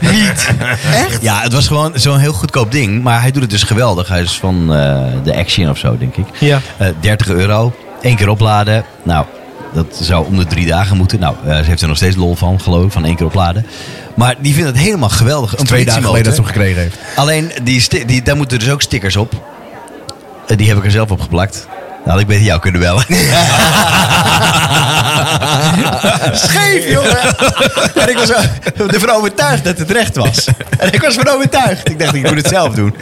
[SPEAKER 1] Niet? Echt? Ja, het was gewoon zo'n heel goedkoop ding. Maar hij doet het dus geweldig. Hij is van eh, de Action of zo, denk ik.
[SPEAKER 2] Ja.
[SPEAKER 1] Eh, 30 euro. één keer opladen. Nou, dat zou om de drie dagen moeten. Nou, eh, ze heeft er nog steeds lol van, geloof ik. Van één keer opladen. Maar die vindt het helemaal geweldig. Een
[SPEAKER 5] Twee dagen geleden
[SPEAKER 1] politiemotor.
[SPEAKER 5] dat ze hem gekregen heeft.
[SPEAKER 1] Alleen, die sti- die, daar moeten dus ook stickers op. Eh, Die heb ik er zelf op geplakt. Nou, had ik beter jou kunnen bellen. Scheef, jongen! En ik was er- ervan overtuigd dat het recht was. En ik was ervan overtuigd. Ik dacht, ik moet het zelf doen.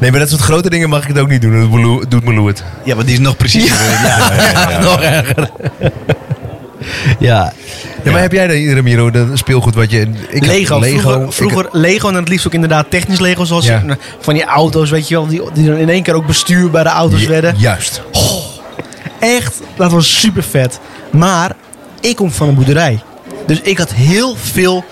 [SPEAKER 5] Nee, maar dat soort grote dingen mag ik het ook niet doen. Dat Malou- doet Malou het.
[SPEAKER 1] Ja, want die is nog precies. Ja,
[SPEAKER 5] nog erger. Ja,
[SPEAKER 1] ja.
[SPEAKER 5] Maar heb jij dan, Ramiro, dat speelgoed wat je... Ik heb
[SPEAKER 2] Lego. Vroeger,
[SPEAKER 5] ik
[SPEAKER 2] vroeger Lego en het liefst ook inderdaad technisch Lego. Zoals
[SPEAKER 5] Ja.
[SPEAKER 2] je- nou, van die auto's, weet je wel. Die, die dan in één keer ook bestuurbare
[SPEAKER 5] heb-
[SPEAKER 2] auto's werden.
[SPEAKER 5] Juist.
[SPEAKER 2] Echt, dat was super vet. Maar ik kom van een boerderij. Dus ik had heel veel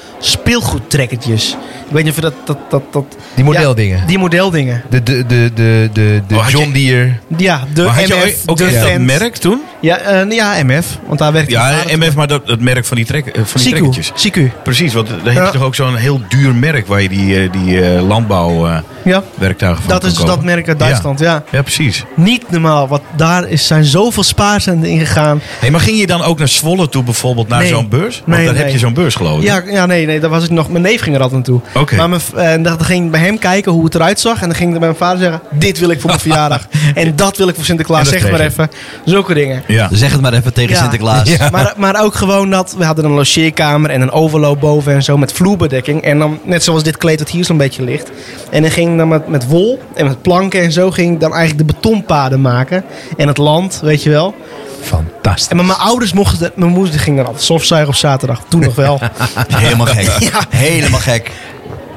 [SPEAKER 2] speelgoedtrekkertjes. Ik weet niet of je dat... dat, dat, dat
[SPEAKER 5] Die modeldingen.
[SPEAKER 2] Ja, die modeldingen.
[SPEAKER 5] De, de, de, de, de, de
[SPEAKER 3] Oh, had je-
[SPEAKER 5] John Deere.
[SPEAKER 2] Ja, de
[SPEAKER 3] Maar
[SPEAKER 2] MF,
[SPEAKER 3] had je ook- ook
[SPEAKER 2] de
[SPEAKER 3] echt dat
[SPEAKER 2] Fendt.
[SPEAKER 3] merk toen?
[SPEAKER 2] Ja, eh, ja, MF. Want daar werkte
[SPEAKER 3] Ja, MF, maar dat, dat merk van die, trek, eh, van die
[SPEAKER 2] Siku.
[SPEAKER 3] trekkertjes.
[SPEAKER 2] Siku.
[SPEAKER 3] Precies, want daar heb je
[SPEAKER 2] Ja.
[SPEAKER 3] toch ook zo'n heel duur merk waar je die, eh, die landbouwwerktuigen
[SPEAKER 2] Ja.
[SPEAKER 3] van
[SPEAKER 2] Dat
[SPEAKER 3] kan
[SPEAKER 2] is dus
[SPEAKER 3] kopen.
[SPEAKER 2] dat merk uit Duitsland, ja.
[SPEAKER 3] Ja, precies.
[SPEAKER 2] Niet normaal, want daar is, zijn zoveel spaarcenten ingegaan.
[SPEAKER 3] Hey, maar ging je dan ook naar Zwolle toe bijvoorbeeld, naar
[SPEAKER 2] Nee.
[SPEAKER 3] zo'n beurs? Want
[SPEAKER 2] Nee,
[SPEAKER 3] daar
[SPEAKER 2] nee.
[SPEAKER 3] heb je zo'n beurs geloof ik.
[SPEAKER 2] Ja, ja nee, nee, daar was ik nog. Mijn neef ging er altijd naartoe.
[SPEAKER 3] Oh, Oké.
[SPEAKER 2] Maar mijn, v- eh, dan ging ik bij hem kijken hoe het eruit zag. En dan ging ik bij mijn vader zeggen: Dit wil ik voor mijn verjaardag. En dat wil ik voor
[SPEAKER 3] En
[SPEAKER 2] Sinterklaas.
[SPEAKER 3] dat
[SPEAKER 2] Zeg het maar
[SPEAKER 3] kreeg
[SPEAKER 2] even. Zulke dingen.
[SPEAKER 3] Ja.
[SPEAKER 1] dus Zeg het maar even tegen
[SPEAKER 2] Ja.
[SPEAKER 1] Sinterklaas.
[SPEAKER 2] Maar, maar ook gewoon dat we hadden een logeerkamer en een overloop boven en zo met vloerbedekking. En dan, net zoals dit kleed dat hier zo'n beetje ligt. En dan ging ik dan met, met wol en met planken en zo ging ik dan eigenlijk de betonpaden maken. En het land, weet je wel.
[SPEAKER 5] Fantastisch.
[SPEAKER 2] En maar mijn ouders mochten, dat- mijn moeder ging dan altijd stofzuigen op zaterdag. Toen nog wel.
[SPEAKER 1] Helemaal gek. Helemaal gek.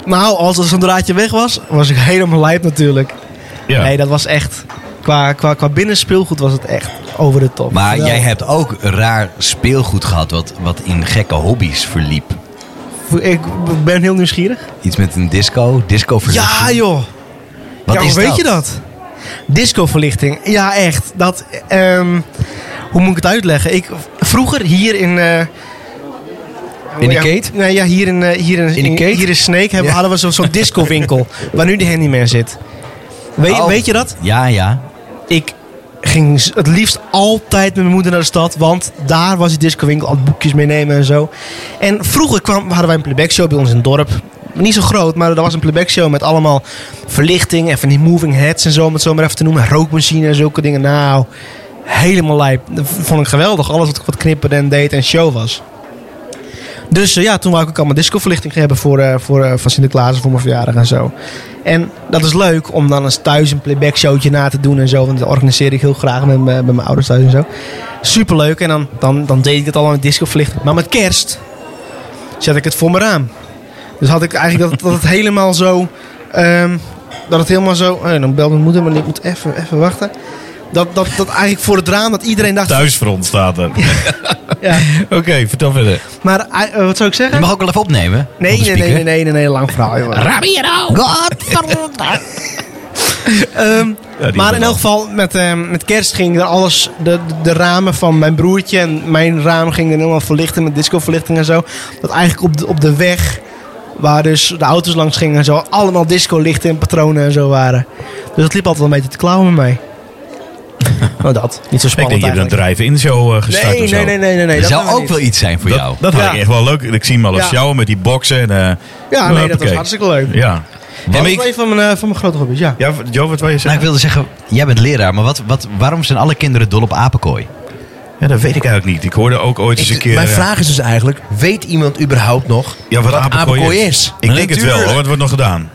[SPEAKER 2] nou, als er zo'n draadje weg was, was ik helemaal lijp natuurlijk.
[SPEAKER 3] Ja.
[SPEAKER 2] Nee, dat was echt, qua, qua, qua binnenspeelgoed was het echt over de top.
[SPEAKER 1] Maar
[SPEAKER 2] Wel,
[SPEAKER 1] jij hebt ook raar speelgoed gehad wat, wat in gekke hobby's verliep.
[SPEAKER 2] Ik ben heel nieuwsgierig.
[SPEAKER 1] Iets met een disco, disco
[SPEAKER 2] Ja joh.
[SPEAKER 1] Wat
[SPEAKER 2] ja,
[SPEAKER 1] is
[SPEAKER 2] hoe weet
[SPEAKER 1] dat?
[SPEAKER 2] je dat? Discoverlichting. Ja, echt. Dat, ehm, hoe moet ik het uitleggen? Ik, vroeger hier in... eh,
[SPEAKER 1] In de
[SPEAKER 2] ja,
[SPEAKER 1] Kate?
[SPEAKER 2] Nee, ja, hier in, eh, hier in,
[SPEAKER 1] In de Kate?
[SPEAKER 2] Hier in Snake hebben,
[SPEAKER 1] Ja.
[SPEAKER 2] hadden we zo- zo'n discowinkel. waar nu de handyman zit. Weet,
[SPEAKER 1] Oh.
[SPEAKER 2] weet je dat?
[SPEAKER 1] Ja, ja.
[SPEAKER 2] Ik ging z- het liefst altijd met mijn moeder naar de stad. Want daar was die discowinkel. Al boekjes meenemen en zo. En vroeger kwam, hadden wij een playback show bij ons in het dorp. Niet zo groot, maar er was een playback show met allemaal verlichting. En van die moving heads en zo, om het zo maar even te noemen. Rookmachine en zulke dingen. Nou, helemaal lijp. Dat v- vond ik geweldig. Alles wat, wat knipperde en deed en show was. Dus eh, ja, toen wou ik ook allemaal discoverlichting hebben voor, eh, voor, eh, van Sinterklaas en voor mijn verjaardag en zo. En dat is leuk om dan eens thuis een playback showtje na te doen en zo. Want dat organiseer ik heel graag met, mijn- met mijn ouders thuis en zo. Superleuk. En dan, dan, dan deed ik het allemaal met discoverlichting. Maar met kerst zet ik het voor mijn raam. Dus had ik eigenlijk dat, dat het helemaal zo... ehm, dat het helemaal zo... eh, dan belt mijn moeder, maar ik moet even, even wachten. Dat, dat, dat eigenlijk voor het raam dat iedereen dacht...
[SPEAKER 3] Thuisfront staat er.
[SPEAKER 2] Ja,
[SPEAKER 3] Oké, vertel verder.
[SPEAKER 2] maar eh, wat zou ik
[SPEAKER 1] Je
[SPEAKER 2] zeggen?
[SPEAKER 1] mag ook wel even opnemen.
[SPEAKER 2] Nee, nee, nee, nee, nee, nee, nee, lang verhaal. joh.
[SPEAKER 1] Ramiro!
[SPEAKER 2] Ehm,
[SPEAKER 3] Ja, die
[SPEAKER 2] maar
[SPEAKER 3] hebben
[SPEAKER 2] in
[SPEAKER 3] we
[SPEAKER 2] elk geval, met, ehm, met kerst ging er alles, de, de ramen van mijn broertje en mijn raam gingen helemaal verlichten met discoverlichting en zo. Dat eigenlijk op de, op de weg, waar dus de auto's langs gingen en zo, allemaal discolichten en patronen en zo waren. Dus dat liep altijd een beetje te klauwen met mij. nou dat, niet zo
[SPEAKER 3] Ik denk
[SPEAKER 2] spannend
[SPEAKER 3] je hebt een
[SPEAKER 2] eigenlijk.
[SPEAKER 3] drive-in show eh, gestart
[SPEAKER 2] nee,
[SPEAKER 3] of zo.
[SPEAKER 2] nee, nee, nee, nee, nee.
[SPEAKER 1] Er
[SPEAKER 2] dat
[SPEAKER 1] zou
[SPEAKER 2] hebben we
[SPEAKER 1] ook
[SPEAKER 2] niet.
[SPEAKER 1] wel iets zijn voor
[SPEAKER 3] Dat,
[SPEAKER 1] jou.
[SPEAKER 3] dat had
[SPEAKER 2] Ja.
[SPEAKER 3] ik echt wel leuk. Ik zie hem al als
[SPEAKER 2] Ja.
[SPEAKER 3] jou met die boksen. En, eh,
[SPEAKER 2] Ja, nee, dat was
[SPEAKER 3] hoppakee.
[SPEAKER 2] hartstikke leuk.
[SPEAKER 3] Ja.
[SPEAKER 2] Dat
[SPEAKER 3] maar
[SPEAKER 2] was
[SPEAKER 3] ik-
[SPEAKER 2] een van mijn, eh, van mijn grote hobby's, ja.
[SPEAKER 3] Ja, Joe, wat wil je
[SPEAKER 1] Nou,
[SPEAKER 3] zeggen?
[SPEAKER 1] ik wilde zeggen, jij bent leraar, maar wat, wat, waarom zijn alle kinderen dol op apenkooi?
[SPEAKER 3] ja, dat weet ik eigenlijk niet. Ik hoorde ook ooit eens een keer...
[SPEAKER 5] Mijn
[SPEAKER 3] eh,
[SPEAKER 5] vraag is dus eigenlijk, weet iemand überhaupt nog
[SPEAKER 3] ja, wat, apenkooi, is. Ik
[SPEAKER 1] Maar
[SPEAKER 3] denk het wel
[SPEAKER 1] natuurlijk.
[SPEAKER 3] hoor, het wordt nog gedaan.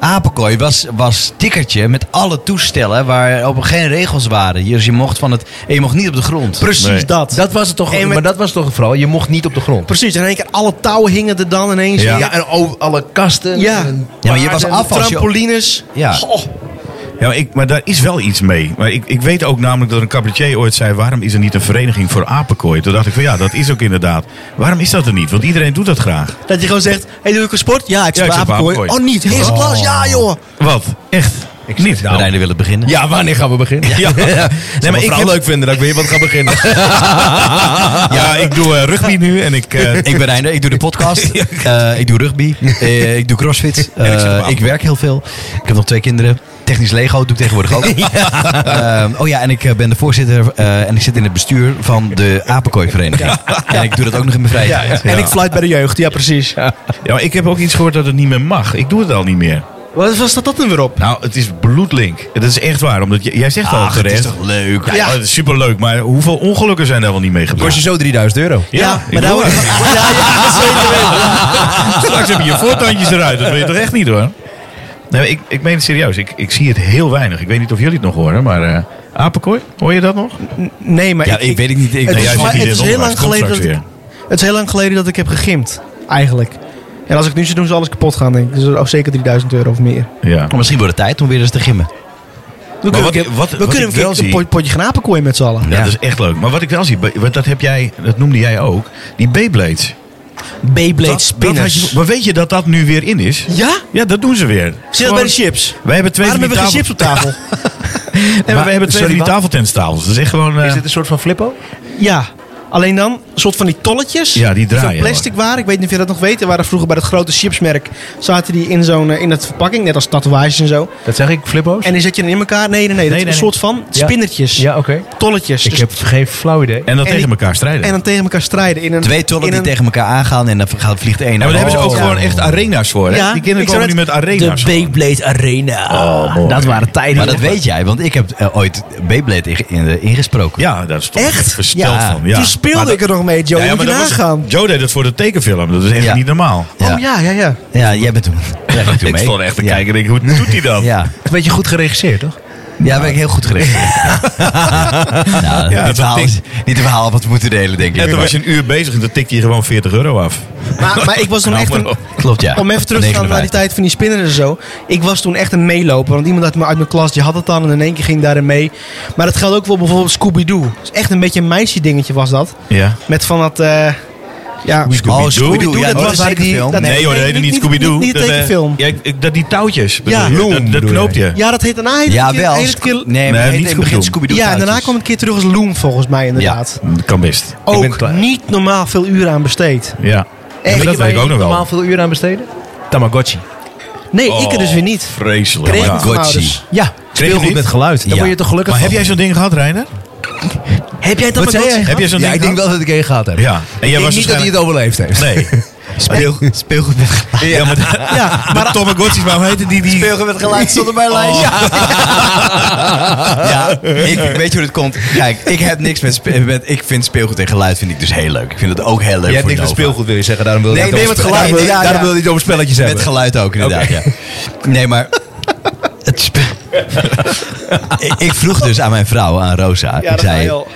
[SPEAKER 1] Apenkooi was, was tikkertje met alle toestellen waar op geen regels waren. Dus je mocht, van het, en je mocht niet op de grond.
[SPEAKER 2] Precies
[SPEAKER 3] Nee.
[SPEAKER 2] dat.
[SPEAKER 5] Dat was het toch,
[SPEAKER 2] En met-
[SPEAKER 5] maar dat was toch vooral, je mocht niet op de grond.
[SPEAKER 2] Precies, in één keer alle touwen hingen er dan ineens.
[SPEAKER 3] Ja.
[SPEAKER 5] Ja, en over alle kasten.
[SPEAKER 2] Ja.
[SPEAKER 5] en-
[SPEAKER 1] Ja, maar je was
[SPEAKER 2] En
[SPEAKER 1] af als je...
[SPEAKER 2] Trampolines.
[SPEAKER 1] Ja.
[SPEAKER 3] Oh.
[SPEAKER 2] Goh.
[SPEAKER 3] Ja, maar, ik, maar daar is wel iets mee. Maar ik, ik weet ook namelijk dat een cabaretier ooit zei... waarom is er niet een vereniging voor apenkooi? Toen dacht ik van ja, dat is ook inderdaad. Waarom is dat er niet? Want iedereen doet dat graag.
[SPEAKER 2] Dat je gewoon zegt, hey, doe ik een sport? Ja, ik
[SPEAKER 3] Ja,
[SPEAKER 2] zit
[SPEAKER 3] ik
[SPEAKER 2] bij
[SPEAKER 3] zit bij
[SPEAKER 2] Apenkooi.
[SPEAKER 3] Apenkooi.
[SPEAKER 2] Oh niet, heel zijn klas, ja joh.
[SPEAKER 3] Wat? Echt? Ik niet.
[SPEAKER 1] We willen willen beginnen.
[SPEAKER 5] Ja, wanneer gaan we beginnen?
[SPEAKER 3] Ja. Nee, maar ik heb-
[SPEAKER 5] leuk vinden dat ik weer wat ga beginnen.
[SPEAKER 3] Ja, ik doe eh, rugby nu en ik... eh,
[SPEAKER 1] Ik ben Reinder, ik doe de podcast, eh, ik doe rugby, eh, ik doe crossfit,
[SPEAKER 3] ik zit op
[SPEAKER 1] eh,
[SPEAKER 3] Apenkooi.
[SPEAKER 1] ik werk heel veel. Ik heb nog twee kinderen. Technisch Lego doe ik tegenwoordig ook. Ehm, oh ja, en ik eh, ben de voorzitter eh, en ik zit in het bestuur van de Apenkooivereniging. En ik doe dat ook nog in mijn vrije tijd.
[SPEAKER 2] En ik flight bij de jeugd, ja precies.
[SPEAKER 3] ja, maar ik heb ook iets gehoord dat het niet meer mag. Ik doe het al niet meer.
[SPEAKER 2] Wat was dat dan weer op?
[SPEAKER 3] Nou, het is bloedlink. Dat is echt waar. Omdat j- jij zegt al
[SPEAKER 1] Ach, Ah, het
[SPEAKER 3] terecht.
[SPEAKER 1] is toch leuk?
[SPEAKER 3] Ja, het is superleuk. Maar hoeveel ongelukken zijn daar wel niet mee gebeurd?
[SPEAKER 5] Kost je zo 3000 euro.
[SPEAKER 3] Ja, ik bedoel
[SPEAKER 2] wordt-
[SPEAKER 3] het.
[SPEAKER 2] Ja, ja, dat zeker weten.
[SPEAKER 3] Straks heb je je voortandjes eruit. Dat weet je toch echt niet hoor? Nee, ik, ik meen het serieus. Ik, ik zie het heel weinig. Ik weet niet of jullie het nog horen, maar... eh, Apenkooi, hoor je dat nog?
[SPEAKER 2] Nee, maar
[SPEAKER 1] Ja, ik weet het niet. Ik,
[SPEAKER 2] Het
[SPEAKER 3] Nee,
[SPEAKER 2] is
[SPEAKER 3] jij
[SPEAKER 2] maar-
[SPEAKER 3] zit hier
[SPEAKER 2] het
[SPEAKER 3] in
[SPEAKER 2] is
[SPEAKER 3] het
[SPEAKER 2] heel
[SPEAKER 3] onderwijs.
[SPEAKER 2] lang
[SPEAKER 3] Komt
[SPEAKER 2] geleden dat
[SPEAKER 3] straks
[SPEAKER 2] ik- het is heel lang geleden dat ik heb gegimd, eigenlijk. En als ik het nu zou doen, zal alles kapot gaan, denk ik. Dus ook zeker 3000 euro of meer.
[SPEAKER 3] Ja.
[SPEAKER 1] Maar misschien wordt het tijd om weer eens te gimmen.
[SPEAKER 2] We kunnen,
[SPEAKER 3] wat-
[SPEAKER 2] een keer-
[SPEAKER 3] wat-
[SPEAKER 2] we
[SPEAKER 3] wat
[SPEAKER 2] kunnen
[SPEAKER 3] ik
[SPEAKER 2] een
[SPEAKER 3] wel
[SPEAKER 2] keer een
[SPEAKER 3] zie-
[SPEAKER 2] pot- potje grapenkooi met z'n allen.
[SPEAKER 1] Ja.
[SPEAKER 3] Ja, dat is echt leuk. Maar wat ik wel zie, want dat heb jij, dat noemde jij ook, die Beyblades.
[SPEAKER 2] Beyblade
[SPEAKER 3] Dat- dat had
[SPEAKER 2] spinners.
[SPEAKER 3] je- maar weet je dat dat nu weer in is?
[SPEAKER 2] Ja?
[SPEAKER 3] Ja, dat doen ze weer.
[SPEAKER 2] Zit dat bij de chips?
[SPEAKER 3] Wij hebben twee
[SPEAKER 2] Waarom
[SPEAKER 3] van die
[SPEAKER 2] hebben we geen chips op tafel?
[SPEAKER 3] Nee, maar we hebben twee
[SPEAKER 5] Sorry,
[SPEAKER 3] van die
[SPEAKER 5] wat?
[SPEAKER 3] tafeltentstafels. Dat is echt gewoon... eh,
[SPEAKER 5] Is dit een soort van flippo?
[SPEAKER 2] Ja, alleen dan soort van die tolletjes.
[SPEAKER 3] Ja, die
[SPEAKER 2] van
[SPEAKER 3] draaien.
[SPEAKER 2] plastic waren. Ik weet niet of je dat nog weet. Er waren vroeger bij dat grote chipsmerk. Zaten die in zo'n eh, in dat verpakking. Net als tatoeages en zo.
[SPEAKER 5] Dat zeg ik, flippo's?
[SPEAKER 2] En die zet je dan in elkaar. Nee, nee, nee. Dat
[SPEAKER 5] Nee,
[SPEAKER 2] is een
[SPEAKER 5] nee,
[SPEAKER 2] soort van
[SPEAKER 5] Ja.
[SPEAKER 2] spinnertjes.
[SPEAKER 5] Ja, oké.
[SPEAKER 2] Tolletjes.
[SPEAKER 5] Ik
[SPEAKER 2] Dus-
[SPEAKER 5] heb geen flauw idee.
[SPEAKER 3] En dan
[SPEAKER 2] En
[SPEAKER 3] tegen
[SPEAKER 2] die-
[SPEAKER 3] elkaar strijden.
[SPEAKER 2] En dan tegen elkaar strijden. In een,
[SPEAKER 1] Twee tollen
[SPEAKER 2] in
[SPEAKER 1] die
[SPEAKER 2] een-
[SPEAKER 1] tegen elkaar aangaan en dan gaat- vliegt één
[SPEAKER 3] Ja, maar daar hebben ze ook
[SPEAKER 1] Oh.
[SPEAKER 3] gewoon echt arena's voor. Hè?
[SPEAKER 2] Ja,
[SPEAKER 3] die kinderen
[SPEAKER 2] ik zou
[SPEAKER 3] komen nu met
[SPEAKER 2] De
[SPEAKER 3] arena's. gewoon.
[SPEAKER 2] Beyblade Arena. dat waren tijden.
[SPEAKER 1] Oh, Maar dat weet jij, want ik heb eh, ooit Beyblade in- in- ingesproken.
[SPEAKER 3] Ja, daar stond ik
[SPEAKER 2] Echt?
[SPEAKER 3] versteld
[SPEAKER 1] Ja.
[SPEAKER 3] van. Ja.
[SPEAKER 2] Toen speelde
[SPEAKER 3] Maar dat-
[SPEAKER 2] ik er nog mee, Joe.
[SPEAKER 3] Ja, ja,
[SPEAKER 2] moet je
[SPEAKER 3] maar dat was-
[SPEAKER 2] nagaan.
[SPEAKER 3] Joe deed het voor de tekenfilm. Dat is echt
[SPEAKER 1] Ja.
[SPEAKER 3] niet normaal.
[SPEAKER 1] Ja.
[SPEAKER 2] Oh ja, ja, ja.
[SPEAKER 1] Ja, jij bent toen. Jij bent toen
[SPEAKER 3] Ik
[SPEAKER 1] mee.
[SPEAKER 3] stond echt te
[SPEAKER 1] Ja.
[SPEAKER 3] kijken en denk, hoe doet hij dat?
[SPEAKER 1] Ja,
[SPEAKER 5] Een beetje goed geregisseerd, toch?
[SPEAKER 1] ja ben ik heel goed gericht. nou,
[SPEAKER 3] dat
[SPEAKER 1] niet, verhaal,
[SPEAKER 3] denk-
[SPEAKER 1] is- niet het verhaal wat we moeten delen, denk ik.
[SPEAKER 3] En toen was je een uur bezig en dan tikte je gewoon 40 euro af.
[SPEAKER 2] Maar, maar ik was toen
[SPEAKER 3] Nou,
[SPEAKER 2] echt
[SPEAKER 3] maar
[SPEAKER 2] een...
[SPEAKER 3] op.
[SPEAKER 1] Klopt, ja.
[SPEAKER 2] Om even terug te gaan naar
[SPEAKER 1] 59.
[SPEAKER 2] die tijd van die spinnen en zo. Ik was toen echt een meeloper. Want iemand uit mijn, uit mijn klas die had het dan en in één keer ging daarin mee. Maar dat geldt ook wel bijvoorbeeld Scooby-Doo. Dat is echt een beetje een meisje dingetje was dat.
[SPEAKER 3] Ja.
[SPEAKER 2] Met van dat... eh, ja,
[SPEAKER 1] Oh, Scooby-Doo.
[SPEAKER 2] Scooby-Doo,
[SPEAKER 1] Ja,
[SPEAKER 2] dat
[SPEAKER 1] dat
[SPEAKER 2] was
[SPEAKER 1] was
[SPEAKER 2] waar
[SPEAKER 1] een
[SPEAKER 2] die-
[SPEAKER 1] film.
[SPEAKER 2] dat-
[SPEAKER 3] Nee,
[SPEAKER 2] nee,
[SPEAKER 3] hoor, dat
[SPEAKER 2] nee,
[SPEAKER 3] heette niet
[SPEAKER 2] niet-
[SPEAKER 3] Scooby-Doo.
[SPEAKER 2] niet- niet
[SPEAKER 3] Dat, eh,
[SPEAKER 2] tekenfilm.
[SPEAKER 3] Ja, ik- ik- dat die touwtjes. bedoel
[SPEAKER 2] Ja.
[SPEAKER 3] je?
[SPEAKER 5] Loom
[SPEAKER 3] Dat, dat
[SPEAKER 5] bedoel
[SPEAKER 3] knoopt je.
[SPEAKER 2] ja, dat heet daarna... heet het
[SPEAKER 1] Ja,
[SPEAKER 2] een keer-
[SPEAKER 1] wel.
[SPEAKER 2] heet het een keer-
[SPEAKER 1] Nee,
[SPEAKER 3] Nee,
[SPEAKER 1] maar
[SPEAKER 3] niet
[SPEAKER 1] het begint
[SPEAKER 3] Scooby-Doo.
[SPEAKER 1] Scooby-Doo.
[SPEAKER 2] ja, en daarna
[SPEAKER 1] touwtjes.
[SPEAKER 2] kwam het een keer terug als Loom volgens mij inderdaad.
[SPEAKER 3] Dat kan best.
[SPEAKER 5] ben
[SPEAKER 2] Ook
[SPEAKER 5] klaar.
[SPEAKER 2] niet normaal veel uren aan besteed.
[SPEAKER 3] Ja.
[SPEAKER 2] Echt,
[SPEAKER 3] Maar dat
[SPEAKER 2] waar
[SPEAKER 3] weet ik
[SPEAKER 2] je
[SPEAKER 3] ook nog
[SPEAKER 5] Normaal
[SPEAKER 3] wel.
[SPEAKER 5] veel uren aan besteden? Tamagotchi.
[SPEAKER 2] Nee, ik er dus weer niet.
[SPEAKER 3] Vreselijk.
[SPEAKER 2] Kreeg ik
[SPEAKER 3] Ja.
[SPEAKER 2] van mijn
[SPEAKER 1] Oh. Gotchi.
[SPEAKER 2] ouders.
[SPEAKER 5] Ja,
[SPEAKER 3] je niet?
[SPEAKER 5] speelgoed met geluid. Dan
[SPEAKER 1] Ja.
[SPEAKER 5] word je toch gelukkig
[SPEAKER 3] Maar heb
[SPEAKER 5] van.
[SPEAKER 3] jij zo'n ding gehad, Reiner?
[SPEAKER 5] Heb jij Tamagotchi?
[SPEAKER 1] zei jij?
[SPEAKER 5] Heb jij zo'n ja,
[SPEAKER 3] ding
[SPEAKER 5] ik denk
[SPEAKER 3] gehad?
[SPEAKER 5] wel dat ik één gehad heb.
[SPEAKER 3] Ja. En jij
[SPEAKER 5] ik denk
[SPEAKER 3] was
[SPEAKER 5] niet dat hij het
[SPEAKER 3] waarschijnlijk...
[SPEAKER 5] overleefd heeft.
[SPEAKER 3] Nee.
[SPEAKER 1] Speel- Speelgoed met geluid.
[SPEAKER 3] Ja, maar, ja, maar Tamagotchi's, maar hoe heette die? die...
[SPEAKER 1] Speelgoed met geluid stond op mijn lijst. Ja, ik weet je hoe dit komt. Kijk, ik heb niks met, spe- met ik vind speelgoed en geluid vind ik dus heel leuk. Ik vind het ook heel leuk
[SPEAKER 5] Jij hebt
[SPEAKER 1] voor
[SPEAKER 5] niks met
[SPEAKER 1] Nova.
[SPEAKER 5] speelgoed, wil je zeggen. Daarom wil je
[SPEAKER 1] Nee,
[SPEAKER 5] het
[SPEAKER 1] nee,
[SPEAKER 5] over
[SPEAKER 1] met
[SPEAKER 5] spe-
[SPEAKER 1] geluid.
[SPEAKER 5] daarom wil-
[SPEAKER 1] Ja, ja.
[SPEAKER 5] Daarom wil je het over spelletjes hebben.
[SPEAKER 1] Met geluid ook inderdaad,
[SPEAKER 5] Oké.
[SPEAKER 1] ja. Nee, maar... Het spe- ik ik vroeg dus aan mijn vrouw, aan Rosa.
[SPEAKER 2] Ja,
[SPEAKER 1] ik
[SPEAKER 2] dat
[SPEAKER 1] zei,
[SPEAKER 2] zei je al.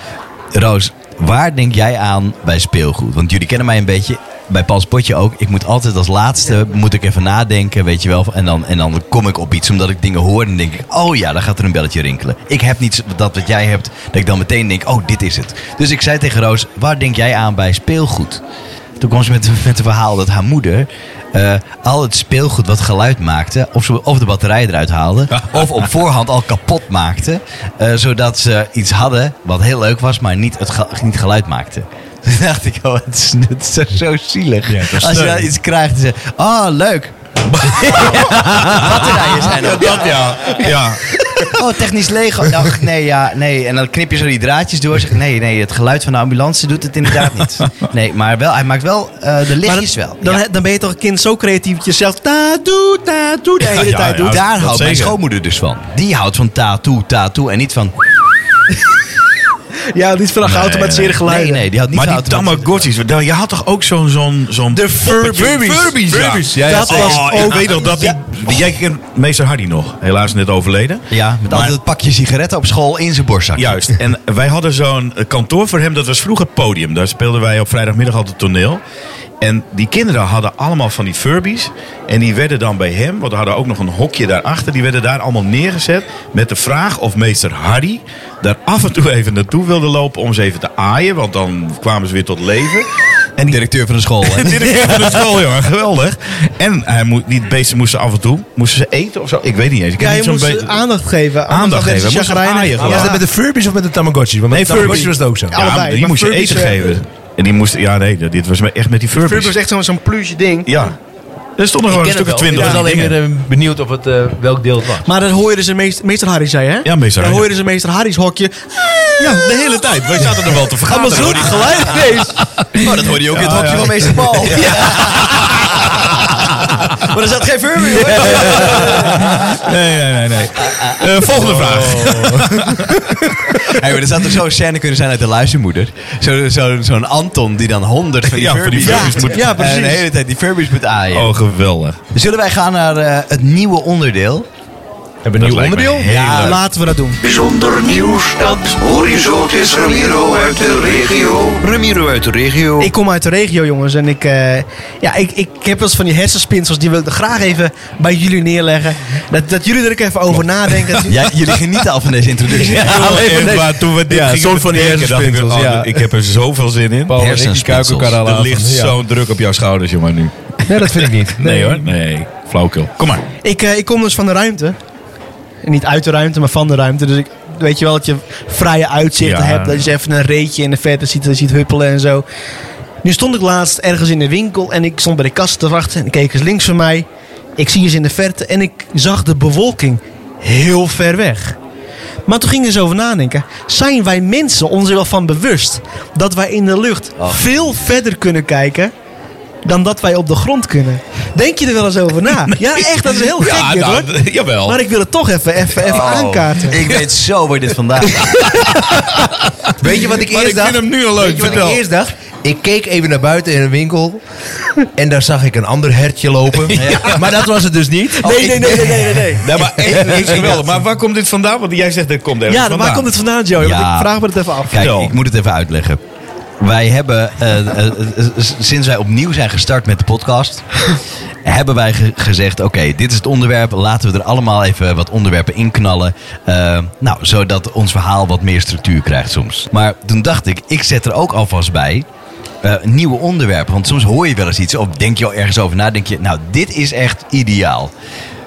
[SPEAKER 1] Roos, waar denk jij aan bij speelgoed? Want jullie kennen mij een beetje, bij Paul Potje ook. Ik moet altijd als laatste, moet ik even nadenken, weet je wel. En dan, en dan kom ik op iets, omdat ik dingen hoor en denk ik... oh ja, daar gaat er een belletje rinkelen. Ik heb niet dat wat jij hebt, dat ik dan meteen denk, oh, dit is het. Dus ik zei tegen Roos, waar denk jij aan bij speelgoed? Toen kwam ze met, met een verhaal dat haar moeder... eh, al het speelgoed wat geluid maakte, of, ze, of de batterij eruit haalde, of op voorhand al kapot maakte. eh, zodat ze iets hadden wat heel leuk was, maar niet, het ge- niet geluid maakte. Toen dacht ik, oh, het is, het is zo, zo zielig.
[SPEAKER 3] Ja, dat is
[SPEAKER 1] Als je
[SPEAKER 3] leuk.
[SPEAKER 1] dan iets krijgt en zegt, oh, leuk. Batterijen zijn
[SPEAKER 3] Ja,
[SPEAKER 1] er.
[SPEAKER 3] dat ja. Ja.
[SPEAKER 1] Oh, technisch Lego. Ach, nee, ja, nee. En dan knip je zo die draadjes door. Zeg, nee, nee, het geluid van de ambulance doet het inderdaad niet. Nee, maar wel, hij maakt wel eh, de
[SPEAKER 2] Maar
[SPEAKER 1] lichtjes
[SPEAKER 2] dat-
[SPEAKER 1] wel.
[SPEAKER 2] Dan,
[SPEAKER 1] Ja.
[SPEAKER 2] he- dan ben je toch een kind zo creatief dat je zelf ta doe ta doe de hele
[SPEAKER 3] Ja,
[SPEAKER 2] tijd
[SPEAKER 3] Nou ja,
[SPEAKER 2] doet.
[SPEAKER 1] Daar
[SPEAKER 3] dat
[SPEAKER 1] houdt mijn
[SPEAKER 3] zeker.
[SPEAKER 1] schoonmoeder dus van. Die houdt van tattoo, tattoo en niet van...
[SPEAKER 2] Ja, niet van geautomatiseerde
[SPEAKER 3] nee,
[SPEAKER 1] Nee,
[SPEAKER 2] geluiden.
[SPEAKER 1] nee, die had niet
[SPEAKER 3] Maar die
[SPEAKER 1] van automatische-
[SPEAKER 3] Tamagotchi's, want dan- je had toch ook zo'n... zo'n zo'n
[SPEAKER 5] De Furbies.
[SPEAKER 3] Furbies,
[SPEAKER 5] Furbies,
[SPEAKER 3] ja.
[SPEAKER 5] Furbies, ja, ja,
[SPEAKER 3] dat
[SPEAKER 5] zeker.
[SPEAKER 3] was
[SPEAKER 5] Oh,
[SPEAKER 3] ook... Ik weet nog dat die... Jij kent meester Hardy nog. Helaas net overleden.
[SPEAKER 1] Ja, met
[SPEAKER 3] Maar-
[SPEAKER 1] altijd het pakje sigaretten op school in zijn borstzak.
[SPEAKER 3] Juist. En wij hadden zo'n eh, kantoor voor hem. Dat was vroeger het podium. Daar speelden wij op vrijdagmiddag altijd toneel. En die kinderen hadden allemaal van die Furbies. En die werden dan bij hem, want we hadden ook nog een hokje daarachter. Die werden daar allemaal neergezet. Met de vraag of meester Harry daar af en toe even naartoe wilde lopen. Om ze even te aaien. Want dan kwamen ze weer tot leven. En die
[SPEAKER 1] Directeur van de school. hè?
[SPEAKER 3] dit is van de school, jongen. Geweldig. En hij moet, die beesten moesten af en toe... Moesten ze eten of zo? Ik weet niet eens. Ik heb
[SPEAKER 2] Ja,
[SPEAKER 3] niet
[SPEAKER 2] je
[SPEAKER 3] zo'n
[SPEAKER 2] moest
[SPEAKER 3] beetje-
[SPEAKER 2] aandacht geven.
[SPEAKER 3] Aandacht geven. Moest
[SPEAKER 2] Chagrijnen.
[SPEAKER 3] aaien
[SPEAKER 2] Ja,
[SPEAKER 3] gewoon.
[SPEAKER 5] Was
[SPEAKER 2] ja.
[SPEAKER 5] dat met de Furbies of met de Tamagotchi? Want met
[SPEAKER 3] Nee,
[SPEAKER 5] de Tamagotchi
[SPEAKER 3] Furby.
[SPEAKER 5] was het ook zo.
[SPEAKER 3] Ja,
[SPEAKER 2] Allebei,
[SPEAKER 3] maar die
[SPEAKER 2] maar
[SPEAKER 3] moest je
[SPEAKER 2] Furbies,
[SPEAKER 3] eten
[SPEAKER 2] eh,
[SPEAKER 3] geven. En die moest, ja nee, dit was echt met die Furbies.
[SPEAKER 2] Furby was echt zo'n zo'n pluche ding.
[SPEAKER 3] Ja. Er stonden gewoon een
[SPEAKER 5] Ik ken
[SPEAKER 3] stuk of
[SPEAKER 5] het wel.
[SPEAKER 3] twintig
[SPEAKER 5] Ik was
[SPEAKER 3] van die
[SPEAKER 5] alleen
[SPEAKER 3] dingen.
[SPEAKER 5] maar eh, benieuwd of het, eh, welk deel het was.
[SPEAKER 2] Maar dat hoor je dus in meester, meester Harry zei, hè?
[SPEAKER 3] Ja,
[SPEAKER 2] Dan
[SPEAKER 3] meester Harry.
[SPEAKER 2] hoor je dus in meester Harry's hokje.
[SPEAKER 3] Ja, de hele tijd. Wij zaten er wel te
[SPEAKER 2] Allemaal
[SPEAKER 3] vergaderen.
[SPEAKER 2] zo die geluid ineens.
[SPEAKER 1] Oh, dat hoorde je ook in het
[SPEAKER 3] Ja,
[SPEAKER 1] hokje
[SPEAKER 3] ja.
[SPEAKER 1] van meester Paul. Maar er zat geen Furby hoor.
[SPEAKER 3] Nee, nee, nee.
[SPEAKER 5] Ah,
[SPEAKER 3] nee. Eh,
[SPEAKER 5] Oh,
[SPEAKER 3] volgende vraag.
[SPEAKER 1] Hey, maar er zou toch zo'n scène kunnen zijn uit de luistermoeder. Zo- zo- Zo'n Anton die dan honderd van die
[SPEAKER 3] Ja, van die
[SPEAKER 1] Furbies,
[SPEAKER 3] Furbies moet-
[SPEAKER 1] ja, precies. En de hele tijd die Furbies moet aaien.
[SPEAKER 3] Oh, geweldig.
[SPEAKER 1] Zullen wij gaan naar eh, het nieuwe onderdeel?
[SPEAKER 5] Hebben we een nieuw onderdeel?
[SPEAKER 3] Ja,
[SPEAKER 2] Laten we dat doen.
[SPEAKER 6] Bijzonder nieuws dat Horizont is Ramiro uit de regio.
[SPEAKER 1] Ramiro uit de regio.
[SPEAKER 2] Ik kom uit de regio, jongens. En ik, eh, ja, ik, ik heb wel eens van die hersenspinsels. Die wil ik er graag even bij jullie neerleggen. Dat, dat jullie er ook even over nadenken. Dat jullie-
[SPEAKER 1] Ja, jullie genieten al van deze introductie.
[SPEAKER 3] Echt waar, toen we dit
[SPEAKER 5] Ja,
[SPEAKER 3] gingen
[SPEAKER 5] soort van die
[SPEAKER 3] bedenken, dacht ik,
[SPEAKER 5] hersenspinsels,
[SPEAKER 3] oh,
[SPEAKER 5] ja.
[SPEAKER 3] Ik heb er zoveel zin in.
[SPEAKER 5] Paul en ik die
[SPEAKER 1] Hersenspinsels.
[SPEAKER 5] kuiken elkaar al
[SPEAKER 3] Er
[SPEAKER 5] aan.
[SPEAKER 3] ligt
[SPEAKER 5] Ja.
[SPEAKER 3] zo'n druk op jouw schouders, jongen, nu.
[SPEAKER 5] Nee, dat vind ik niet.
[SPEAKER 3] Nee hoor. Nee, flauwkul. Kom maar.
[SPEAKER 5] Oh,
[SPEAKER 2] Ik, eh, ik kom dus van de ruimte. En Niet uit de ruimte, maar van de ruimte. Dus ik, Weet je wel, dat je vrije uitzichten
[SPEAKER 3] Ja.
[SPEAKER 2] hebt. Dat je even een reetje in de verte ziet, ziet huppelen en zo. Nu stond ik laatst ergens in de winkel en ik stond bij de kast te wachten. En ik keek eens links van mij. Ik zie eens in de verte en ik zag de bewolking heel ver weg. Maar toen ging ik eens over nadenken. Zijn wij mensen ons er wel van bewust dat wij in de lucht veel verder kunnen kijken dan dat wij op de grond kunnen? Denk je er wel eens over na? Ja, echt, dat is heel gek dit, hoor.
[SPEAKER 3] jawel.
[SPEAKER 2] Maar ik wil het toch even, even, even aankaarten.
[SPEAKER 1] Oh. Ik weet zo waar dit vandaan gaat.
[SPEAKER 5] Weet je wat ik
[SPEAKER 3] Maar
[SPEAKER 5] eerst
[SPEAKER 3] ik
[SPEAKER 5] dacht?
[SPEAKER 3] vind hem nu al
[SPEAKER 5] Weet
[SPEAKER 3] leuk.
[SPEAKER 5] je wat
[SPEAKER 3] Vertel.
[SPEAKER 5] ik eerst dacht? Ik keek even naar buiten in een winkel. En daar zag ik een ander hertje lopen. Maar dat was het dus niet.
[SPEAKER 1] Oh,
[SPEAKER 2] Nee, nee, nee, nee, nee, nee, nee.
[SPEAKER 3] Nee, maar echt, echt geweldig. Maar waar komt dit vandaan? Want jij zegt dat komt ergens
[SPEAKER 2] Ja, dan waar
[SPEAKER 3] vandaan.
[SPEAKER 2] komt het vandaan, Joey? Want
[SPEAKER 1] Ja.
[SPEAKER 2] Ik vraag me het even af.
[SPEAKER 1] Kijk,
[SPEAKER 3] Vertel.
[SPEAKER 1] ik moet het even uitleggen. Wij hebben, eh, eh, eh, s- sinds wij opnieuw zijn gestart met de podcast, hebben wij ge- gezegd: Oké, dit is het onderwerp. Laten we er allemaal even wat onderwerpen in knallen. Eh, nou, zodat ons verhaal wat meer structuur krijgt soms. Maar toen dacht ik: ik zet er ook alvast bij. eh, nieuwe onderwerpen. Want soms hoor je wel eens iets. Of denk je al ergens over na. Denk je, nou, dit is echt ideaal.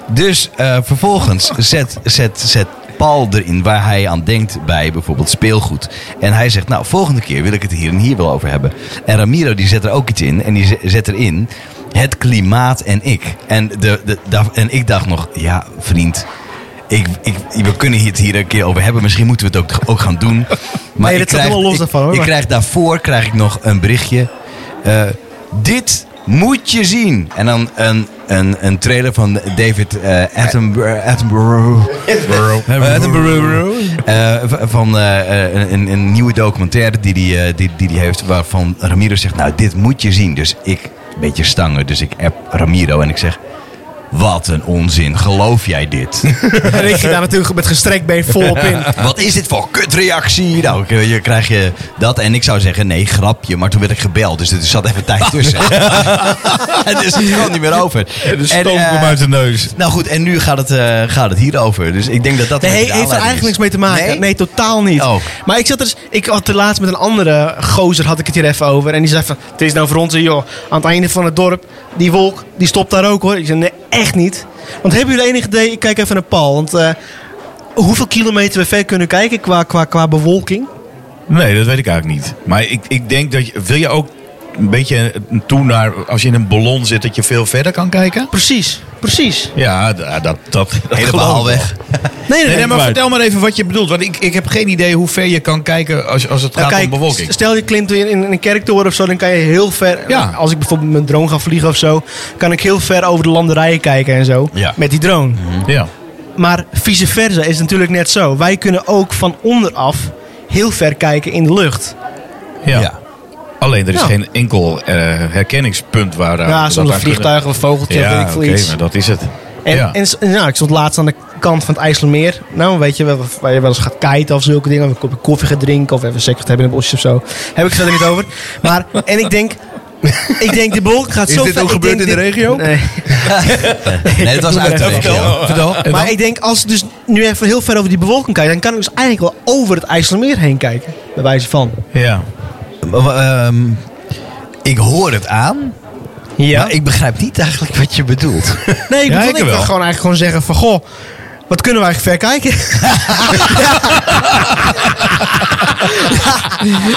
[SPEAKER 1] Dus eh, vervolgens zet, zet, zet Paul erin waar hij aan denkt bij bijvoorbeeld speelgoed. En hij zegt, nou, volgende keer wil ik het hier en hier wel over hebben. En Ramiro die zet er ook iets in. En die ze- zet erin het klimaat en ik. En, de, de, da- en ik dacht nog, ja, vriend. Ik, ik, we kunnen het hier een keer over hebben. Misschien moeten we het ook, ook gaan doen. Maar
[SPEAKER 2] Nee,
[SPEAKER 1] ik
[SPEAKER 2] dit staat
[SPEAKER 1] krijg-
[SPEAKER 2] helemaal los
[SPEAKER 1] ik-
[SPEAKER 2] daarvan, hoor.
[SPEAKER 1] Ik krijg daarvoor krijg ik nog een berichtje. Eh, dit moet je zien. En dan een, een, een trailer van David eh, Attenborough. Attenborough. Eh, Attenborough. Eh, v- van eh, eh, een, een nieuwe documentaire die die, eh, die, die die heeft. Waarvan Ramiro zegt, nou dit moet je zien. Dus ik, een beetje stanger, dus ik app Ramiro en ik zeg... Wat een onzin, geloof jij dit?
[SPEAKER 2] En ik ging daar natuurlijk met gestrekt been volop in.
[SPEAKER 1] Wat is dit voor kutreactie? Nou, ik, eh, je krijg je dat. En ik zou zeggen, nee, grapje. Maar toen werd ik gebeld, dus er zat even tijd tussen. En dus het kwam niet meer over.
[SPEAKER 3] De
[SPEAKER 1] En,
[SPEAKER 3] stoom
[SPEAKER 1] eh,
[SPEAKER 3] komt uit de neus.
[SPEAKER 1] nou goed, en nu gaat het, eh, gaat het hierover. Dus ik denk dat dat...
[SPEAKER 2] Nee,
[SPEAKER 1] een beetje
[SPEAKER 2] heeft
[SPEAKER 1] de
[SPEAKER 2] er
[SPEAKER 1] aanleiding
[SPEAKER 2] eigenlijk niks
[SPEAKER 1] is.
[SPEAKER 2] mee te maken. Nee, totaal niet.
[SPEAKER 1] Oh.
[SPEAKER 2] Maar ik zat er, eens- ik had er laatst met een andere gozer had ik het hier even over. En die zei van, het is nou voor ons, eh, joh, aan het einde van het dorp, die wolk, die stopt daar ook hoor. Ik zei, nee, echt niet. Want hebben jullie enig idee, ik kijk even naar Paul, want eh, hoeveel kilometer we ver kunnen kijken qua, qua, qua bewolking?
[SPEAKER 3] Nee, dat weet ik eigenlijk niet. Maar ik, ik denk dat je... Wil je ook een beetje toe naar... Als je in een ballon zit, dat je veel verder kan kijken?
[SPEAKER 2] Precies, precies.
[SPEAKER 3] Ja, d- dat, dat, dat
[SPEAKER 1] Helemaal
[SPEAKER 3] geloof ik
[SPEAKER 1] weg.
[SPEAKER 2] Nee, nee,
[SPEAKER 3] Nee, nee, maar
[SPEAKER 2] maar
[SPEAKER 3] vertel maar even wat je bedoelt. Want ik, ik heb geen idee hoe ver je kan kijken als, als het gaat om
[SPEAKER 2] Nou,
[SPEAKER 3] bewolking.
[SPEAKER 2] kijk, stel je klimt in, in een kerktoren of zo, dan kan je heel ver.
[SPEAKER 3] Ja.
[SPEAKER 2] Als ik bijvoorbeeld met mijn drone ga vliegen of zo, kan ik heel ver over de landerijen kijken en zo.
[SPEAKER 1] Ja.
[SPEAKER 2] Met die drone.
[SPEAKER 3] Ja.
[SPEAKER 2] Maar vice versa is het natuurlijk net zo. Wij kunnen ook van onderaf heel ver kijken in de lucht.
[SPEAKER 3] Ja. Alleen er is
[SPEAKER 2] Ja.
[SPEAKER 3] geen enkel eh, herkenningspunt waar. eh,
[SPEAKER 2] ja,
[SPEAKER 3] dat
[SPEAKER 2] soms
[SPEAKER 3] aan
[SPEAKER 2] een vliegtuig of een vogeltje
[SPEAKER 3] kunnen.
[SPEAKER 2] of
[SPEAKER 3] Ja,
[SPEAKER 2] weet ik veel
[SPEAKER 3] oké,
[SPEAKER 2] iets.
[SPEAKER 3] maar dat is het.
[SPEAKER 2] En,
[SPEAKER 3] ja.
[SPEAKER 2] en s- en nou, ik stond laatst aan de kant van het IJsselmeer. Nou, weet je, wel, waar je wel eens gaat kiten of zulke dingen. Of een kopje koffie gaat drinken of even seks gaat hebben in het bosje of zo. Heb ik het verder niet over. Maar, en ik denk... Ik denk, de bol gaat
[SPEAKER 5] Is
[SPEAKER 2] zo
[SPEAKER 5] dit
[SPEAKER 2] ver-
[SPEAKER 5] ook
[SPEAKER 2] ik denk
[SPEAKER 5] gebeurd in de
[SPEAKER 2] dit-
[SPEAKER 5] regio?
[SPEAKER 2] Nee.
[SPEAKER 1] Nee, dat was uit de
[SPEAKER 3] Vertel,
[SPEAKER 1] regio.
[SPEAKER 3] vertel. En
[SPEAKER 2] Maar
[SPEAKER 3] dan?
[SPEAKER 2] ik denk, als ik dus nu even heel ver over die bewolking kijk... dan kan ik dus eigenlijk wel over het IJsselmeer heen kijken. Bij wijze van.
[SPEAKER 3] Ja.
[SPEAKER 1] Ehm, ik hoor het aan,
[SPEAKER 2] Ja.
[SPEAKER 1] maar ik begrijp niet eigenlijk wat je bedoelt.
[SPEAKER 2] Nee, ik,
[SPEAKER 3] Ja,
[SPEAKER 2] bedoel,
[SPEAKER 3] ik
[SPEAKER 2] ik wil
[SPEAKER 3] wel.
[SPEAKER 2] gewoon eigenlijk gewoon zeggen van... Goh, wat kunnen we eigenlijk ver kijken?